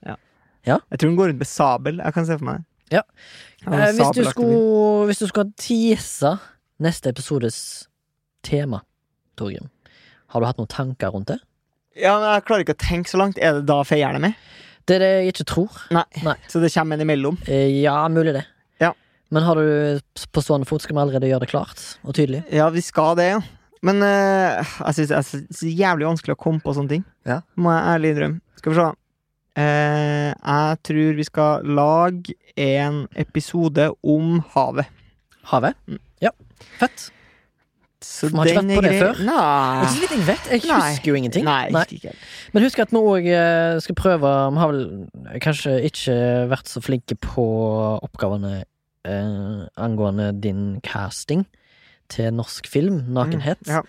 Speaker 1: Jeg tror hun går rundt med sabel. Jeg kan se for meg.
Speaker 2: Ja.
Speaker 1: Ja,
Speaker 2: Eh, hvis, du
Speaker 1: sabelaktig bil.
Speaker 2: skulle, hvis du skulle tease neste episodes tema, Torgrim, har du hatt noen tanker rundt det?
Speaker 1: Ja, men Jeg klarer ikke å tenke så langt. Er det da feierne med?
Speaker 2: Det er det jeg ikke tror.
Speaker 1: Nei.
Speaker 2: Nei.
Speaker 1: Så det kommer en imellom?
Speaker 2: Eh, Ja, mulig det.
Speaker 1: Ja.
Speaker 2: Men har du på stående fot skal vi allerede gjøre det klart og tydelig?
Speaker 1: Ja, vi skal det, ja. Men eh, jeg syns det er så- så jævlig vanskelig å komme på sånne ting.
Speaker 2: Ja.
Speaker 1: Må jeg ærlig innrømme. Skal vi se. Eh, jeg tror vi skal lage en episode om havet.
Speaker 2: Havet?
Speaker 1: Mm.
Speaker 2: Ja. Fett.
Speaker 1: Så
Speaker 2: Vi har ikke vært på det før. Ikke så
Speaker 1: Nei.
Speaker 2: vidt jeg vet. Jeg
Speaker 1: Nei.
Speaker 2: husker jo ingenting.
Speaker 1: Nei,
Speaker 2: Nei.
Speaker 1: ikke- ikke helt.
Speaker 2: Men husk at vi òg skal prøve Vi har vel kanskje ikke vært så flinke på oppgavene eh, angående din casting til norsk film, Nakenhet.
Speaker 1: Mm, ja.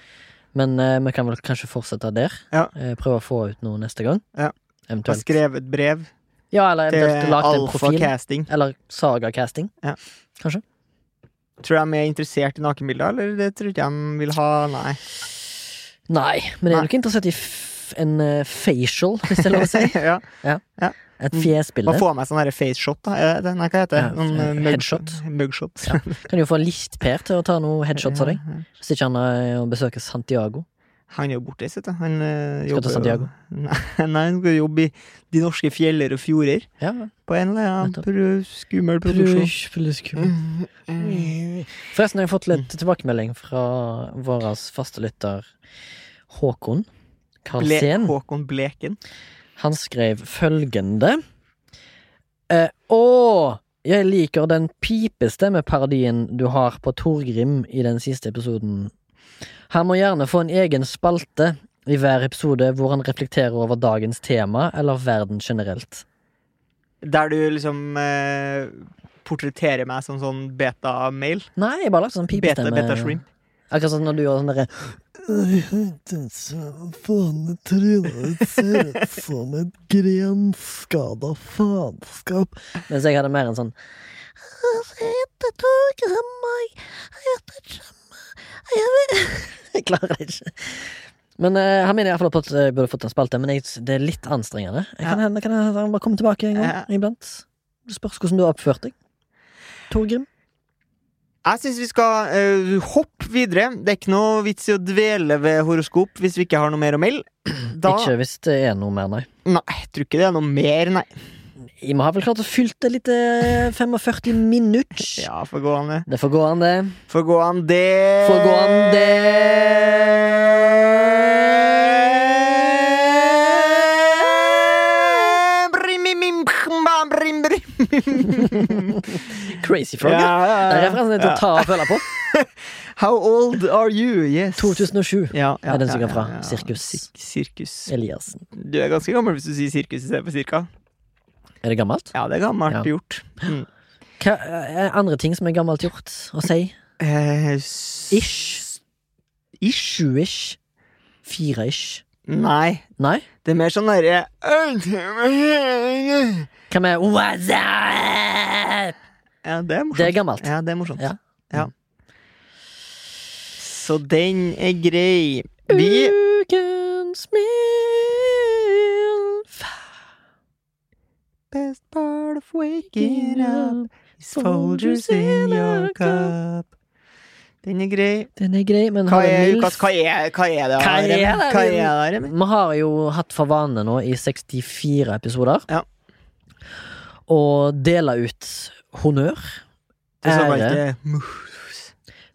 Speaker 2: Men eh, vi kan vel kanskje fortsette der.
Speaker 1: Ja.
Speaker 2: Eh, prøve å få ut noe neste gang.
Speaker 1: Ja. Jeg har
Speaker 2: Eventuelt.
Speaker 1: skrevet et brev
Speaker 2: Ja, eller eventuelt
Speaker 1: til
Speaker 2: lagt en
Speaker 1: Alfa
Speaker 2: profil.
Speaker 1: Casting.
Speaker 2: Eller saga-casting.
Speaker 1: Tror du de er interessert i nakenbilder, eller det tror ikke de vil ha? Nei.
Speaker 2: Nei, men er
Speaker 1: Nei.
Speaker 2: du ikke interessert i f en eh, facial, hvis det er lov å si?
Speaker 1: [LAUGHS] ja.
Speaker 2: Et
Speaker 1: Mm.
Speaker 2: fjesbilde?
Speaker 1: Man får med sånn her face shot, da. Er det- Nei, hva heter
Speaker 2: Ja,
Speaker 1: det? Noen, eh, mug-
Speaker 2: headshot.
Speaker 1: Mugshot.
Speaker 2: Kan jo få Listper til å ta noen headshots av deg.
Speaker 1: Ja, ja.
Speaker 2: Hvis ikke han eh, besøker Santiago.
Speaker 1: [LAUGHS] Han er jo bortreist, vet du. Han
Speaker 2: Skal
Speaker 1: eh,
Speaker 2: til
Speaker 1: jobber jo-
Speaker 2: Santiago.
Speaker 1: [LAUGHS] Nei, nei, han skal jobbe i de norske fjeller og fjorder.
Speaker 2: Ja,
Speaker 1: På en eller annen
Speaker 2: Nettopp.
Speaker 1: pr skummel produksjon.
Speaker 2: Forresten
Speaker 1: Mm, mm.
Speaker 2: har jeg fått litt tilbakemelding fra vår faste lytter Håkon
Speaker 1: Ble
Speaker 2: Karlsen.
Speaker 1: Håkon Bleken.
Speaker 2: Han skrev følgende eh, Å, jeg liker den pipestemmeparodien du har på Torgrim i den siste episoden. Han må gjerne få en egen spalte i hver episode hvor han reflekterer over dagens tema eller verden generelt.
Speaker 1: Der du liksom eh, portretterer meg som sånn beta-mail.
Speaker 2: Nei, jeg bare lagde sånn
Speaker 1: Beta-
Speaker 2: pipestemme.
Speaker 1: Beta-shrimp.
Speaker 2: Akkurat som når du gjør sånn derre
Speaker 3: Jeg hørte så faen Trude ser ut som et grenskada faenskap.
Speaker 2: Mens jeg hadde mer en sånn
Speaker 3: Jeg heter Torgeir Hammer. Jeg heter Tjøme. Jeg vet
Speaker 2: [LAUGHS] Jeg klarer det ikke. Men eh, han mener iallfall at jeg burde fått en spalte, men jeg, det er litt anstrengende. Jeg kan,
Speaker 1: Ja.
Speaker 2: hende- kan jeg, han bare komme tilbake en gang
Speaker 1: Ja.
Speaker 2: iblant. Det spørs hvordan du har oppført deg. Torgrim.
Speaker 1: Jeg syns vi skal eh, hoppe videre. Det er ikke noe vits i å dvele ved horoskop hvis vi ikke har noe mer
Speaker 2: [CLEARS THROAT]
Speaker 1: å melde. Da
Speaker 2: Ikke hvis det er noe mer, nei.
Speaker 1: Nei, jeg tror ikke det er noe mer, nei.
Speaker 2: Vi må ha vel klart å fylle det litt eh, 45 minutter.
Speaker 1: Ja, får gå an, det.
Speaker 2: Det får gå an, det.
Speaker 1: Får gå an, det.
Speaker 2: Får gå an,
Speaker 1: Brim, bim, bim, bam, brim, brim.
Speaker 2: Crazy Frog. Ja. Det er referansen til å ta og [LAUGHS] føle på.
Speaker 1: How old are you? Yes.
Speaker 2: 2007.
Speaker 1: Ja,
Speaker 2: er den som går fra. Sirkus.
Speaker 1: Sik- Sirkus.
Speaker 2: Eliassen.
Speaker 1: Du er ganske gammel hvis du sier sirkus istedenfor cirka.
Speaker 2: Er det gammelt?
Speaker 1: Ja, det er gammelt
Speaker 2: Ja.
Speaker 1: gjort. Mm.
Speaker 2: Hva eh, er andre ting som er gammelt gjort å si?
Speaker 1: Eh, s-
Speaker 2: Ish. Ish. Sju-ish. Fire-ish.
Speaker 1: Nei.
Speaker 2: Nei?
Speaker 1: Det er mer sånn derre Ja,
Speaker 2: Hva med What's up?
Speaker 1: det er morsomt.
Speaker 2: Det er gammelt.
Speaker 1: Ja, det er morsomt.
Speaker 2: Ja. Mm.
Speaker 1: Ja. Så den er grei. Vi
Speaker 2: Ukens milf.
Speaker 1: Best part of waking up is soldiers in your cup. Den er grei.
Speaker 2: Den er grei, men
Speaker 1: Hva
Speaker 2: har
Speaker 1: er,
Speaker 2: en milf?
Speaker 1: Lukas, hva er, hva er det?
Speaker 2: Hva er det?
Speaker 1: Remi? Hva er det? Remi?
Speaker 2: Vi har jo hatt for vane nå i 64 episoder
Speaker 1: Ja.
Speaker 2: å dele ut honnør,
Speaker 1: Det er sånn
Speaker 2: Ære.
Speaker 1: at det-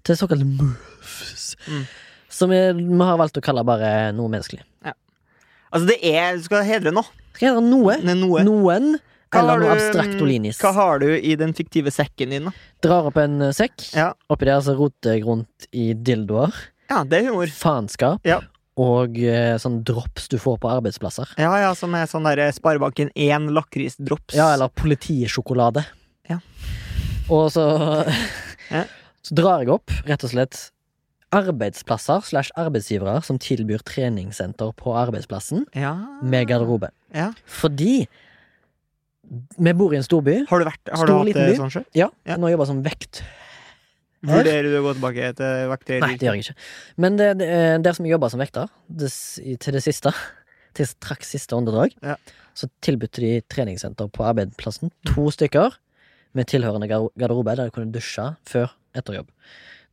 Speaker 2: til såkalte moves.
Speaker 1: Mm.
Speaker 2: Som vi, vi har valgt å kalle bare noe menneskelig.
Speaker 1: Altså, det er Du skal hedre noe.
Speaker 2: Skal jeg hete noe?
Speaker 1: Det er noe.
Speaker 2: Noen?
Speaker 1: Hva har
Speaker 2: eller noe
Speaker 1: du,
Speaker 2: abstrakt og linis.
Speaker 1: Hva har du i den fiktive sekken din, da?
Speaker 2: Drar opp en eh, sekk.
Speaker 1: Ja.
Speaker 2: Oppi der så roter jeg rundt i dildoer,
Speaker 1: Ja, det er humor.
Speaker 2: faenskap
Speaker 1: Ja.
Speaker 2: og eh, sånn drops du får på arbeidsplasser.
Speaker 1: Ja, ja, som er sånn derre Sparebanken 1 lakrisdrops.
Speaker 2: Ja, eller politisjokolade.
Speaker 1: Ja.
Speaker 2: Og så
Speaker 1: [LAUGHS] Ja.
Speaker 2: Så drar jeg opp, rett og slett, arbeidsplasser slash arbeidsgivere som tilbyr treningssenter på arbeidsplassen
Speaker 1: Ja.
Speaker 2: med garderobe.
Speaker 1: Ah. Ja.
Speaker 2: Fordi vi bor i en storby.
Speaker 1: Har du vært Har
Speaker 2: Stor,
Speaker 1: du hatt
Speaker 2: liten
Speaker 1: det
Speaker 2: by.
Speaker 1: sånn sjøl?
Speaker 2: Ja,
Speaker 1: Ja.
Speaker 2: Nå jobber jeg som vekt
Speaker 1: Vurderer du å gå tilbake til vekter?
Speaker 2: Nei, det gjør jeg ikke. Men det, det, eh, der som jeg jobba som vekter, det, s- i- til det siste, [LAUGHS] til straks siste åndedrag,
Speaker 1: Ja. Mm.
Speaker 2: så tilbød de treningssenter på arbeidsplassen. To stykker med tilhørende gar- garderobe, der du kunne dusje før etter jobb.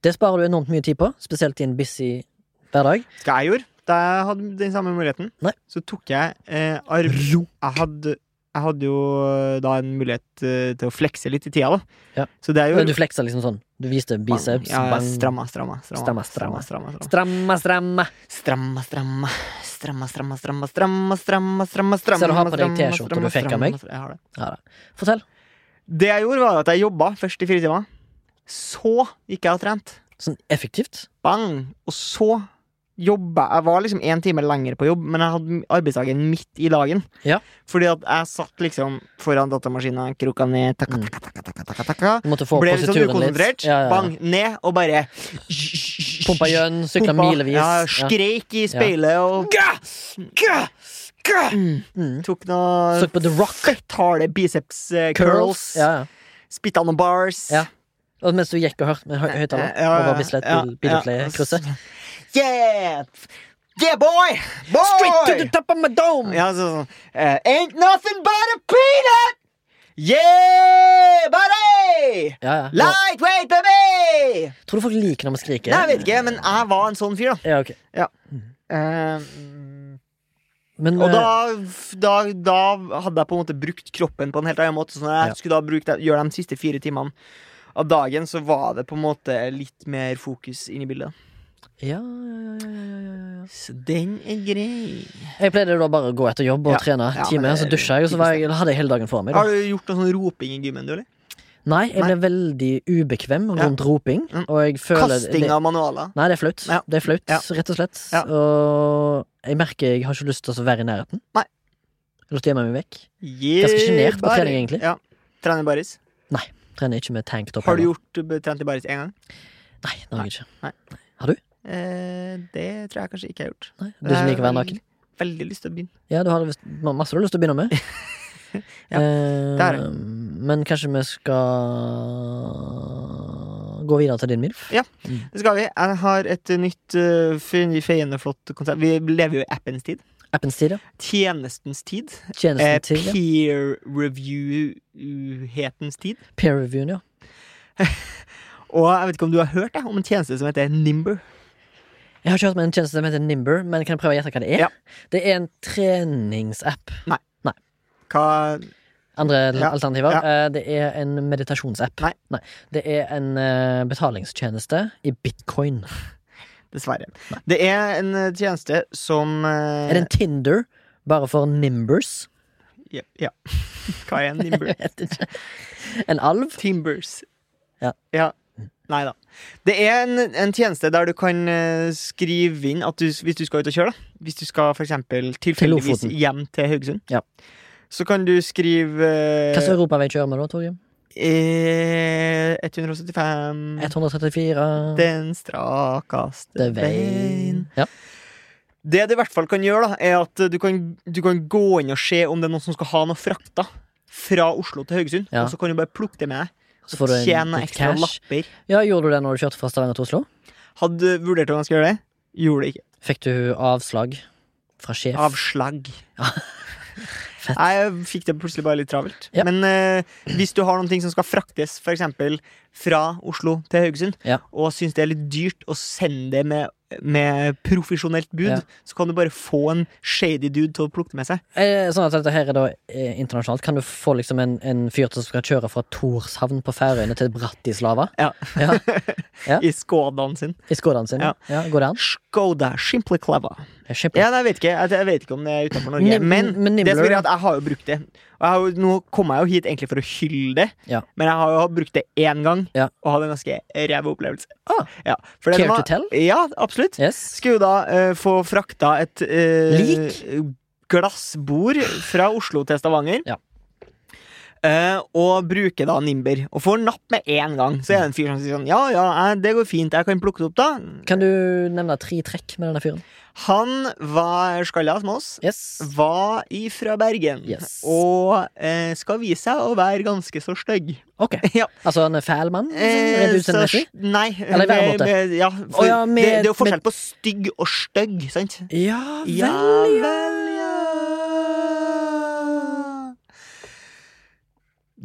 Speaker 2: Det sparer du enormt mye tid på, spesielt i en busy hverdag.
Speaker 1: Skal jeg gjøre? Da jeg hadde den samme muligheten,
Speaker 2: Nei.
Speaker 1: så tok jeg eh, arv...
Speaker 2: Ro.
Speaker 1: Jeg hadde, jeg hadde jo eh, da en mulighet eh, til å flekse litt i tida, da.
Speaker 2: Ja.
Speaker 1: Så det er jo
Speaker 2: Du fleksa liksom sånn. Du viste biceps.
Speaker 1: Ja, ja,
Speaker 2: bang.
Speaker 1: stramma, stramma, stramma,
Speaker 2: Stramma,
Speaker 1: stramma,
Speaker 2: stramma.
Speaker 1: stramma, stramma.
Speaker 2: Stramma, stramma.
Speaker 1: Stramma, stramma, stramma, stramma, stramma, stramma, stramma, stramma, stramma
Speaker 2: Så du har på deg
Speaker 1: stramma,
Speaker 2: T-skjorta
Speaker 1: stramma,
Speaker 2: du fikk av
Speaker 1: stramma,
Speaker 2: meg?
Speaker 1: stramma, Jeg har det.
Speaker 2: Ja, da. Fortell.
Speaker 1: Det jeg gjorde, var at jeg jobba først i fire timer. Så gikk jeg og trente.
Speaker 2: Sånn effektivt.
Speaker 1: Bang! Og så jobba Jeg var liksom én time lenger på jobb, men jeg hadde arbeidsdagen midt i dagen.
Speaker 2: Ja.
Speaker 1: Fordi at jeg satt liksom foran datamaskina, krukka ned, takka,
Speaker 2: Mm.
Speaker 1: takka, takka, takka, takka, takka.
Speaker 2: Du måtte få opp
Speaker 1: Ble litt sånn
Speaker 2: posituren litt.
Speaker 1: ukonsentrert.
Speaker 2: Ja, ja, ja.
Speaker 1: Bang! Ned og bare
Speaker 2: Pumpa gjøn, sykla
Speaker 1: Pumpa.
Speaker 2: milevis.
Speaker 1: Ja, skreik i speilet og Gah! Gah! Gah!
Speaker 2: Mm.
Speaker 1: Tok noe
Speaker 2: Søk på The Rock.
Speaker 1: fett harde biceps eh, curls.
Speaker 2: Ja, ja.
Speaker 1: Spytta noen bars.
Speaker 2: Ja. Og mens du gikk og hørte med hø- høyttaler
Speaker 1: Eh, Ja, ja, ja.
Speaker 2: over Bislett
Speaker 1: Ja,
Speaker 2: bil- Bilutleiekrysset.
Speaker 1: Yeah! Yeah, boy! Boy!
Speaker 2: Straight to the top of my dome!
Speaker 1: Ja, så, sånn eh, Ain't nothing but a peanut! Yeah, buddy!
Speaker 2: Ja, ja. Nå,
Speaker 1: Lightweight, baby!
Speaker 2: tror du folk liker når vi skriker?
Speaker 1: Nei, jeg vet ikke, men jeg var en sånn fyr, da.
Speaker 2: Ja, ok.
Speaker 1: Eh, mm,
Speaker 2: Men
Speaker 1: og da,
Speaker 2: eh,
Speaker 1: da, da hadde jeg på en måte brukt kroppen på en helt annen måte. Så når jeg
Speaker 2: Ja.
Speaker 1: skulle da bruke det, gjøre de siste fire timene av dagen, så var det på en måte litt mer fokus inn i bildet.
Speaker 2: eh, ja, ja, ja, ja, ja, ja, ja,
Speaker 1: Så den er grei.
Speaker 2: ja. Jeg pleide da bare å gå etter jobb og
Speaker 1: Ja.
Speaker 2: trene
Speaker 1: Ja,
Speaker 2: en time,
Speaker 1: men
Speaker 2: så
Speaker 1: det er
Speaker 2: dusja jeg, og så var jeg, hadde jeg hele dagen for meg. Da.
Speaker 1: Har du gjort noe sånn roping i gymmen, du, eller?
Speaker 2: Nei, jeg ble veldig ubekvem rundt roping,
Speaker 1: Mm.
Speaker 2: og jeg føler
Speaker 1: Kasting
Speaker 2: det-
Speaker 1: av manualer.
Speaker 2: Nei, det er flaut.
Speaker 1: Ja.
Speaker 2: Det er flaut,
Speaker 1: Ja.
Speaker 2: rett og slett.
Speaker 1: Ja.
Speaker 2: Og jeg merker jeg har ikke lyst til å være i nærheten.
Speaker 1: Nei.
Speaker 2: Jeg har lyst til å gjemme meg vekk.
Speaker 1: Yeah,
Speaker 2: sjenert på
Speaker 1: bare-
Speaker 2: trening, egentlig.
Speaker 1: Ja. Trener i baris.
Speaker 2: Trener ikke med tanktop.
Speaker 1: Har du
Speaker 2: heller.
Speaker 1: gjort, trent i baris én gang?
Speaker 2: Nei, det har jeg ikke.
Speaker 1: Nei.
Speaker 2: Har du?
Speaker 1: Eh, det tror jeg kanskje ikke jeg har gjort.
Speaker 2: Nei, du som
Speaker 1: Jeg
Speaker 2: liker å være
Speaker 1: har
Speaker 2: naken.
Speaker 1: Veldig lyst til å begynne.
Speaker 2: Ja, du har visst masse du har lyst til å begynne
Speaker 1: [LAUGHS]
Speaker 2: med.
Speaker 1: Ja,
Speaker 2: Eh,
Speaker 1: det har jeg.
Speaker 2: men kanskje vi skal gå videre til din MILF?
Speaker 1: Det skal vi. Jeg har et nytt eh, fe- feiende flott konsept. Vi lever jo i appens tid.
Speaker 2: Appens tid, ja.
Speaker 1: Tjenestens tid. Eh,
Speaker 2: Tjenesten til, ja.
Speaker 1: peer review-hetens tid.
Speaker 2: Peer reviewen, ja.
Speaker 1: Og jeg vet ikke om du har hørt det, om en tjeneste som heter Nimber.
Speaker 2: Jeg har ikke hørt om en tjeneste som heter Nimber, men kan jeg prøve å gjette hva det er?
Speaker 1: Ja.
Speaker 2: Det er en treningsapp.
Speaker 1: Hva
Speaker 2: Andre
Speaker 1: Ja,
Speaker 2: alternativer.
Speaker 1: ja.
Speaker 2: Eh, Det er en meditasjonsapp.
Speaker 1: Nei.
Speaker 2: Det er en eh, betalingstjeneste i bitcoin.
Speaker 1: Dessverre. Det er en eh, tjeneste som eh,
Speaker 2: Er det en Tinder bare for Nimbers?
Speaker 1: ja, ja. Hva er en
Speaker 2: [LAUGHS]
Speaker 1: Nimber?
Speaker 2: Vet ikke. En alv?
Speaker 1: Timbers.
Speaker 2: Ja.
Speaker 1: Nei da. Det er en, en tjeneste der du kan eh, skrive inn at du, hvis du skal ut og kjøre, da. Hvis du skal for eksempel tilfeldigvis
Speaker 2: Lofoten.
Speaker 1: hjem til Haugesund,
Speaker 2: Ja.
Speaker 1: så kan du skrive eh,
Speaker 2: Hvilken europavei kjører vi da, Torgrim?
Speaker 1: eh, 175
Speaker 2: 134
Speaker 1: den strakaste
Speaker 2: Det
Speaker 1: veien.
Speaker 2: Ja.
Speaker 1: Det du i hvert fall kan gjøre, da, er at du kan, du kan gå inn og se om det er noen som skal ha noe frakta fra Oslo til Haugesund.
Speaker 2: Ja.
Speaker 1: Og så kan du bare plukke det med deg.
Speaker 2: Så får du en-
Speaker 1: Tjene
Speaker 2: litt
Speaker 1: ekstra
Speaker 2: cash.
Speaker 1: lapper.
Speaker 2: Ja, gjorde du det når du kjørte fra Stavanger til Oslo?
Speaker 1: Hadde vurdert om jeg skulle gjøre det. Gjorde det ikke.
Speaker 2: Fikk du avslag fra sjef?
Speaker 1: Avslag. [LAUGHS]
Speaker 2: Fett.
Speaker 1: Jeg fikk det plutselig bare litt travelt.
Speaker 2: Ja.
Speaker 1: Men eh, hvis du har noen ting som skal fraktes for eksempel fra Oslo til Haugesund,
Speaker 2: Ja.
Speaker 1: og syns det er litt dyrt å sende det med, med profesjonelt bud,
Speaker 2: Ja.
Speaker 1: så kan du bare få en shady dude til å plukke det med seg.
Speaker 2: Eh, Sånn at dette her er da eh, internasjonalt. Kan du få liksom en, en fyr som skal kjøre fra Torshavn på Færøyene til Bratislava?
Speaker 1: Ja.
Speaker 2: Ja, Ja.
Speaker 1: I skådaen sin.
Speaker 2: I Skådan sin? Ja. ja. Går det an?
Speaker 1: Skoda, simply clever.
Speaker 2: Det er skikkelig.
Speaker 1: Ja, nei, jeg, vet ikke, jeg, jeg vet ikke om det er utenfor Norge.
Speaker 2: Nim-
Speaker 1: men
Speaker 2: men
Speaker 1: det som
Speaker 2: Nimbler-
Speaker 1: er greia er at jeg har jo brukt det. Og jeg har jo, nå kom jeg jo hit egentlig for å hylle det,
Speaker 2: Ja.
Speaker 1: men jeg har jo brukt det én gang
Speaker 2: Ja.
Speaker 1: og hadde en ganske ræv opplevelse.
Speaker 2: Ah.
Speaker 1: Ja, for det
Speaker 2: Care
Speaker 1: som var-
Speaker 2: to tell?
Speaker 1: Ja, absolutt.
Speaker 2: Yes.
Speaker 1: Skulle jo da eh, få frakta et eh,
Speaker 2: Lik?
Speaker 1: glassbord fra Oslo til Stavanger.
Speaker 2: Ja.
Speaker 1: Eh, og bruker da Nimber. Og får napp med én gang. Så er det en fyr som sier sånn Ja, ja, eh, det går fint. Jeg kan plukke det opp, da.
Speaker 2: Kan du nevne tre trekk med denne fyren?
Speaker 1: Han var skalla som oss.
Speaker 2: Yes.
Speaker 1: Var ifra Bergen.
Speaker 2: Yes.
Speaker 1: Og eh, skal vise seg å være ganske så stygg.
Speaker 2: [LAUGHS] Ok.
Speaker 1: Ja.
Speaker 2: Altså en fæl mann?
Speaker 1: Eh,
Speaker 2: Rent
Speaker 1: så
Speaker 2: utseendemessig?
Speaker 1: st- nei.
Speaker 2: Eller i væremåte.
Speaker 1: ja, for,
Speaker 2: Å ja, med-
Speaker 1: det, det er jo
Speaker 2: med-
Speaker 1: forskjell på stygg og stygg, sant?
Speaker 2: Ja vel,
Speaker 1: Ja
Speaker 2: ja.
Speaker 1: vel, ja.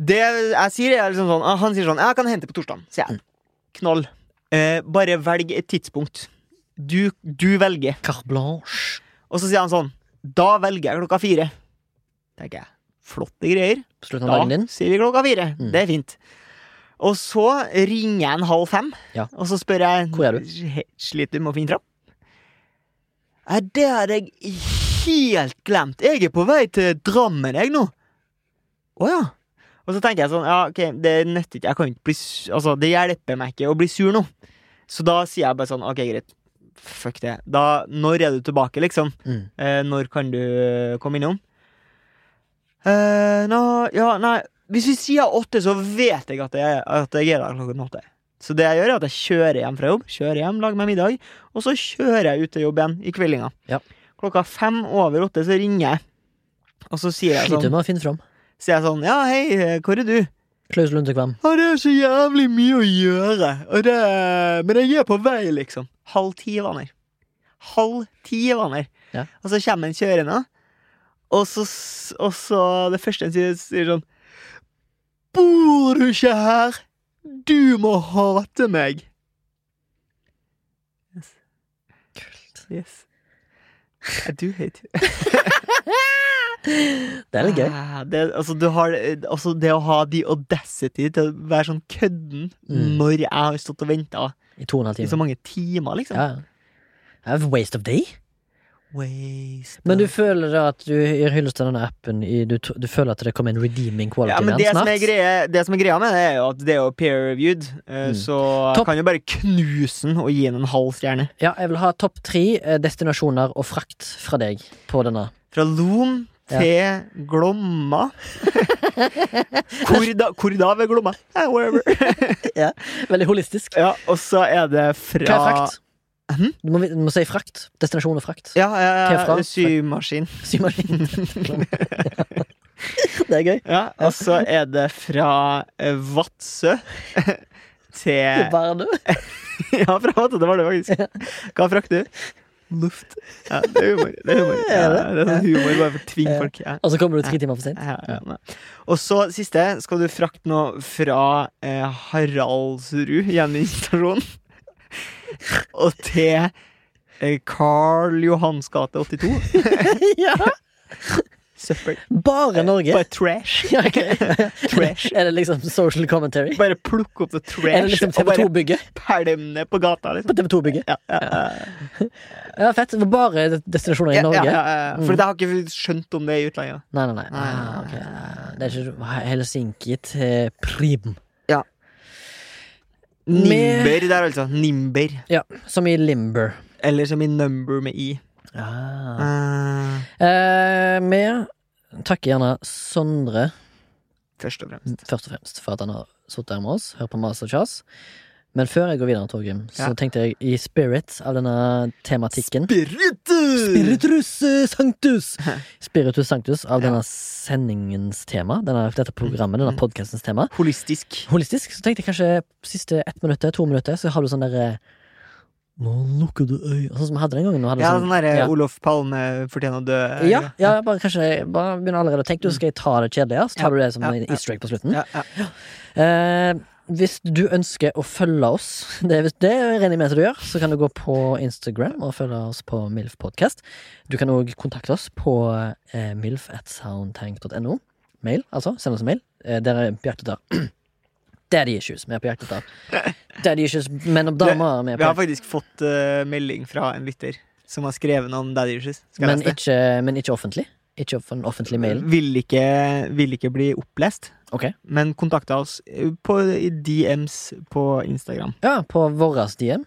Speaker 1: Det jeg sier, er liksom sånn ah, Han sier sånn 'Jeg kan hente på torsdag', sier
Speaker 2: Mm.
Speaker 1: jeg. Knoll. Eh, bare velg et tidspunkt. Du, du velger.
Speaker 2: Carte blanche.
Speaker 1: Og så sier han sånn 'Da velger jeg klokka fire'. Tenker jeg. Flotte greier.
Speaker 2: På slutten av
Speaker 1: Da
Speaker 2: dagen din?
Speaker 1: sier vi klokka fire.
Speaker 2: Mm.
Speaker 1: Det er fint. Og så ringer jeg en halv fem,
Speaker 2: Ja.
Speaker 1: og så spør jeg
Speaker 2: Hvor er du?
Speaker 1: «He- Sliter du med å finne fram? Nei, det hadde jeg helt glemt. Jeg er på vei til Drammen, jeg nå. Å ja. Og så tenker jeg sånn, ja, ok, det nytter ikke. Jeg kan ikke bli su- Altså, det hjelper meg ikke å bli sur nå. Så da sier jeg bare sånn, ok, greit. Fuck det. Da, når er du tilbake, liksom?
Speaker 2: Mm.
Speaker 1: Eh, når kan du eh, komme innom? Eh, nå, ja, nei Hvis vi sier åtte, så vet jeg at jeg, at jeg er der klokken åtte. Så det jeg gjør, er at jeg kjører hjem fra jobb, kjører hjem, lager meg middag, og så kjører jeg ut til jobb igjen i kveldinga.
Speaker 2: Ja.
Speaker 1: Klokka fem over åtte så ringer jeg, og så sier jeg
Speaker 2: Sliter
Speaker 1: sånn,
Speaker 2: med å finne fram.
Speaker 1: sier jeg sånn Ja, hei, eh, hvor er du?
Speaker 2: Klaus Lundekvam.
Speaker 1: Å, det er så jævlig mye å gjøre, og det, men jeg er på vei, liksom. Halv ti, Vanner. Halv ti, Vanner.
Speaker 2: Ja.
Speaker 1: Og så kommer en kjørende, og så, s- og så det første han sier, sier sånn Bor du ikke her? Du må hate meg. Yes.
Speaker 2: Kult.
Speaker 1: Yes. I do hate you.
Speaker 2: Det er litt gøy.
Speaker 1: Ah, Det, altså, du har, altså, det å ha the audacity til å være sånn kødden
Speaker 2: Mm.
Speaker 1: når jeg har stått og venta
Speaker 2: I to og en halv
Speaker 1: i så
Speaker 2: time.
Speaker 1: mange timer, liksom.
Speaker 2: Ja. Det er Waste of day.
Speaker 1: Waste
Speaker 2: Men du
Speaker 1: of-
Speaker 2: føler da at du gir hyllest til denne appen i, du, t- du føler at det kommer en redeeming quality
Speaker 1: ja, men
Speaker 2: med
Speaker 1: det
Speaker 2: den
Speaker 1: som, er
Speaker 2: snart?
Speaker 1: greia, det som er greia med det, er jo at det er jo peer-reviewed. eh,
Speaker 2: Mm.
Speaker 1: Så
Speaker 2: Topp.
Speaker 1: jeg kan jo bare knuse den og gi den en halv stjerne.
Speaker 2: Ja, jeg vil ha topp tre eh, destinasjoner og frakt fra deg på denne.
Speaker 1: Fra Lom
Speaker 2: Ja. [LAUGHS]
Speaker 1: til Glomma. hvor, da, hvor da ved Glomma?
Speaker 2: [LAUGHS]
Speaker 1: Eh, Wherever.
Speaker 2: Veldig holistisk.
Speaker 1: Ja, og så er det fra
Speaker 2: Hva er frakt?
Speaker 1: Mhm.
Speaker 2: Du må, du må si frakt. Destinasjon og frakt.
Speaker 1: Ja,
Speaker 2: Hva
Speaker 1: ja,
Speaker 2: er fra?
Speaker 1: ja symaskin.
Speaker 2: Symaskin. [LAUGHS] det [LAUGHS] er gøy.
Speaker 1: Ja, og så er det fra
Speaker 2: [LAUGHS]
Speaker 1: eh, Vadsø til
Speaker 2: Vardø.
Speaker 1: [LAUGHS] Ja, fra Vadsø, det var det faktisk. Hva frakter du?
Speaker 2: Luft.
Speaker 1: Ja, det er humor. Det er, humor. Ja, det er sånn humor bare for å tvinge
Speaker 2: Ja.
Speaker 1: folk. Ja.
Speaker 2: Og så kommer du tre timer for sent.
Speaker 1: Ja, ja, nei. Og så siste skal du frakte noe fra eh, Haraldsrud gjenvinningsstasjon [LAUGHS] og til eh, Karl Johans gate 82.
Speaker 2: [LAUGHS] ja.
Speaker 1: Søppel.
Speaker 2: Bare Norge.
Speaker 1: Bare trash.
Speaker 2: [LAUGHS] Ja, ok. [LAUGHS]
Speaker 1: Trash.
Speaker 2: Er det liksom social commentary?
Speaker 1: Bare plukke opp noe trash
Speaker 2: Er det liksom
Speaker 1: og bare
Speaker 2: TV2-bygget?
Speaker 1: pælme det på gata, liksom.
Speaker 2: På TV2-bygget?
Speaker 1: Ja, ja, ja.
Speaker 2: Ja, fett. Det var Bare destinasjoner i
Speaker 1: Ja,
Speaker 2: Norge?
Speaker 1: ja, ja, ja. For det har jeg ikke skjønt om det er i utlandet.
Speaker 2: Nei, nei, nei.
Speaker 1: Nei,
Speaker 2: Ah,
Speaker 1: nei,
Speaker 2: ok. Det er ikke Helsinki til Prim. Med-
Speaker 1: Nimber der, altså. Nimber.
Speaker 2: Ja, som i Limber.
Speaker 1: Eller som i number med i.
Speaker 2: Ah.
Speaker 1: Eh,
Speaker 2: Eh, Vi takker gjerne Sondre,
Speaker 1: først og fremst.
Speaker 2: først og fremst, for at han har sittet her med oss, hørt på mas og kjas. Men før jeg går videre, Torgrim, så
Speaker 1: Ja.
Speaker 2: tenkte jeg i spirit av denne tematikken
Speaker 1: Spiritus!
Speaker 2: Spiritus eh, Sanctus! Spiritus Sanctus av
Speaker 1: Ja.
Speaker 2: denne sendingens tema, denne, dette programmet, denne podcastens tema.
Speaker 1: Holistisk.
Speaker 2: holistisk, så tenkte jeg kanskje siste ett minutter, to minutter, så har du sånn derre Nå lukker du øya Sånn som vi hadde den gangen. nå Hadde
Speaker 1: Ja,
Speaker 2: sånn,
Speaker 1: sånn derre
Speaker 2: ja.
Speaker 1: Olof Palme fortjener å dø.
Speaker 2: ja, ja, bare kanskje bare begynner allerede å tenke. Du skal jeg ta det kjedelige, så tar du det som
Speaker 1: Ja,
Speaker 2: en
Speaker 1: ja.
Speaker 2: easter egg på slutten.
Speaker 1: Ja, ja.
Speaker 2: Eh, hvis du ønsker å følge oss, [LAUGHS] det, er hvis det regner jeg med at du gjør, så kan du gå på Instagram og følge oss på MILF Podcast. Du kan òg kontakte oss på eh, milf at soundtank.no. Mail, altså. Send oss en mail. Eh, der er på [CLEARS THROAT] jakt etter Daddy issues. Vi er på jakt etter Daddy issues, menn og damer. Vi er
Speaker 1: Vi
Speaker 2: på
Speaker 1: har faktisk fått eh, melding fra en lytter som har skrevet noe om Daddy Issues. Skal jeg
Speaker 2: men,
Speaker 1: lese det? Mm.
Speaker 2: ikke, men ikke offentlig. Ikke off- en offentlig mail.
Speaker 1: Vil ikke, vil ikke bli opplest,
Speaker 2: Ok.
Speaker 1: men kontakta oss på i DMs på Instagram.
Speaker 2: Ja, på våras DM.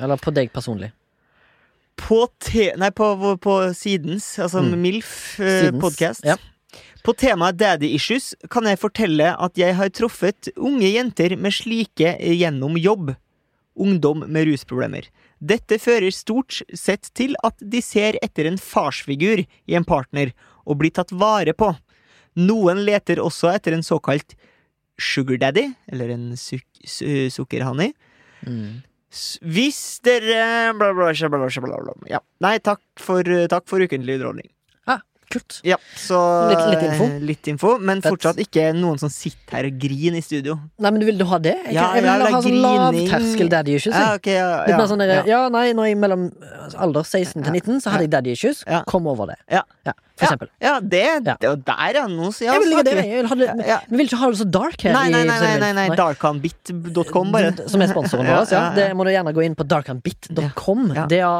Speaker 2: Eller på deg personlig.
Speaker 1: På, te nei, på, på, på Sidens, altså
Speaker 2: Mm.
Speaker 1: MILF eh,
Speaker 2: Sidens,
Speaker 1: podcast.
Speaker 2: ja.
Speaker 1: På temaet daddy issues kan jeg fortelle at jeg har truffet unge jenter med slike gjennom jobb. Ungdom med rusproblemer. Dette fører stort sett til at de ser etter en farsfigur i en partner, og blir tatt vare på. Noen leter også etter en såkalt sugar daddy, eller en suk su sukkerhanni,
Speaker 2: Mm.
Speaker 1: S- Hvis dere bla, bla, bla, bla, bla, bla, bla. Ja. Nei, takk for, takk for ukentlig underholdning.
Speaker 2: Ah, kult.
Speaker 1: Ja, så eh,
Speaker 2: Litt- litt info.
Speaker 1: Litt info, men
Speaker 2: Fett.
Speaker 1: fortsatt ikke noen som sitter her og griner i studio.
Speaker 2: Nei, men du vil du ha det? Jeg,
Speaker 1: Ja,
Speaker 2: kan, jeg vil
Speaker 1: ja,
Speaker 2: heller ha
Speaker 1: det er
Speaker 2: sånn
Speaker 1: grining.
Speaker 2: lavterskel daddy issues.
Speaker 1: Ja,
Speaker 2: jeg.
Speaker 1: ok, ja,
Speaker 2: Litt
Speaker 1: ja,
Speaker 2: mer sånn der,
Speaker 1: ja.
Speaker 2: ja, nei, når jeg mellom eh, alder 16 til 19 så hadde jeg daddy issues.
Speaker 1: Ja.
Speaker 2: Kom over det.
Speaker 1: Ja.
Speaker 2: For eksempel.
Speaker 1: Ja, det,
Speaker 2: Ja.
Speaker 1: det der, ja. Nå, ja
Speaker 2: jeg vil ikke det.
Speaker 1: snakker vi.
Speaker 2: Jeg vil ha det.
Speaker 1: Ja.
Speaker 2: Vi vil ikke ha det så dark her.
Speaker 1: Nei,
Speaker 2: i
Speaker 1: nei, nei, nei,
Speaker 2: Sendemilf.
Speaker 1: nei, nei. darkanbit.com, bare.
Speaker 2: Som er sponsoren vår.
Speaker 1: Ja,
Speaker 2: ja.
Speaker 1: ja, ja.
Speaker 2: Det må du gjerne gå inn på darkhandbit.com.
Speaker 1: Ja, ja.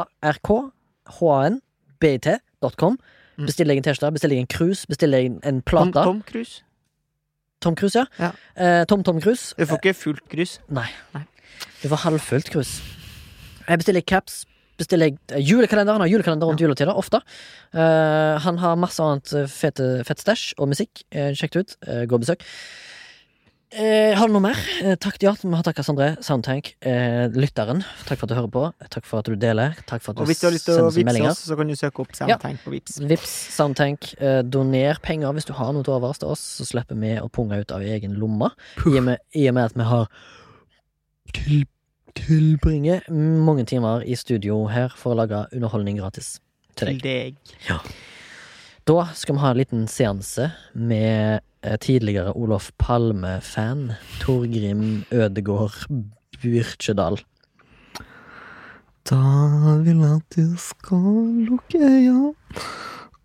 Speaker 2: D-a-r-k-h-a-n-b-i-t.com.
Speaker 1: Mm.
Speaker 2: Bestiller jeg en T-skjorte, bestiller jeg en cruise, bestiller jeg en
Speaker 1: Tom,
Speaker 2: plate. Tom,
Speaker 1: Tom Cruise.
Speaker 2: Cruise, ja.
Speaker 1: Ja.
Speaker 2: Eh, Tom Tom Cruise.
Speaker 1: Du får ikke fullt cruise.
Speaker 2: Nei.
Speaker 1: Nei.
Speaker 2: Det var halvfullt cruise. Jeg bestiller caps. Bestiller jeg eh, julekalender. Han har julekalender rundt juletider, ofte. Eh, han har masse annet eh, fete, fett stæsj og musikk. Eh, Sjekk det ut. Eh, gå og besøk. Eh, har du noe mer? Eh, takk, ja, vi har takka Sondre, Soundtank, eh, lytteren. Takk for at du hører på. Takk for at du deler. Takk for at du,
Speaker 1: Og hvis du har lyst til å
Speaker 2: sender oss
Speaker 1: vippse
Speaker 2: meldinger.
Speaker 1: oss, så kan du søke opp
Speaker 2: Ja.
Speaker 1: Soundtank på Vips.
Speaker 2: Vips, Soundtank, eh, doner penger hvis du har noe til overs til oss, så slipper vi å punge ut av egen lomme. I og med, i og med at vi har til, tilbringer mange timer i studio her for å lage underholdning gratis til
Speaker 1: Til
Speaker 2: deg.
Speaker 1: deg.
Speaker 2: Da skal vi ha en liten seanse med eh, tidligere Olof Palme-fan Torgrim Ødegård Byrkjedal.
Speaker 1: Da vil jeg at du skal lukke øya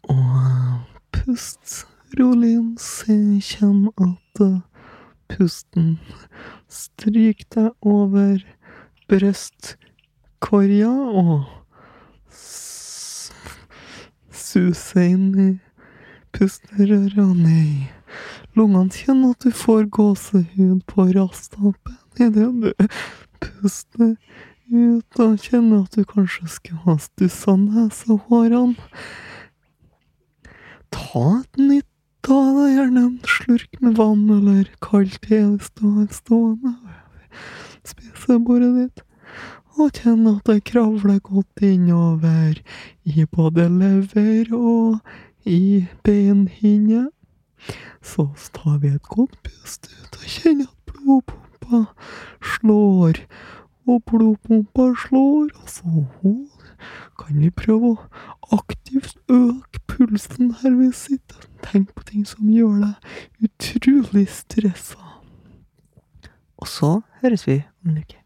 Speaker 1: og pust rolig inn, så kjenn at eh, pusten stryker deg over brystkorga og s- suser inn i pusterøra og ned i lungene. Kjenn at du får gåsehud på rastapen idet du puster ut og kjenner at du kanskje skulle ha stussa nesehårene. Ta et nytt Ta deg gjerne en slurk med vann eller kald te hvis du har stående over spisebordet ditt. og kjenner at det kravler godt innover i både lever og i beinhinne. Så tar vi et godt pust ut og kjenner at blodpumpa slår. Og blodpumpa slår, og så kan vi prøve å aktivt øke pulsen her vi sitter. Tenk på ting som gjør deg utrolig stressa. Og så høres vi om en uke.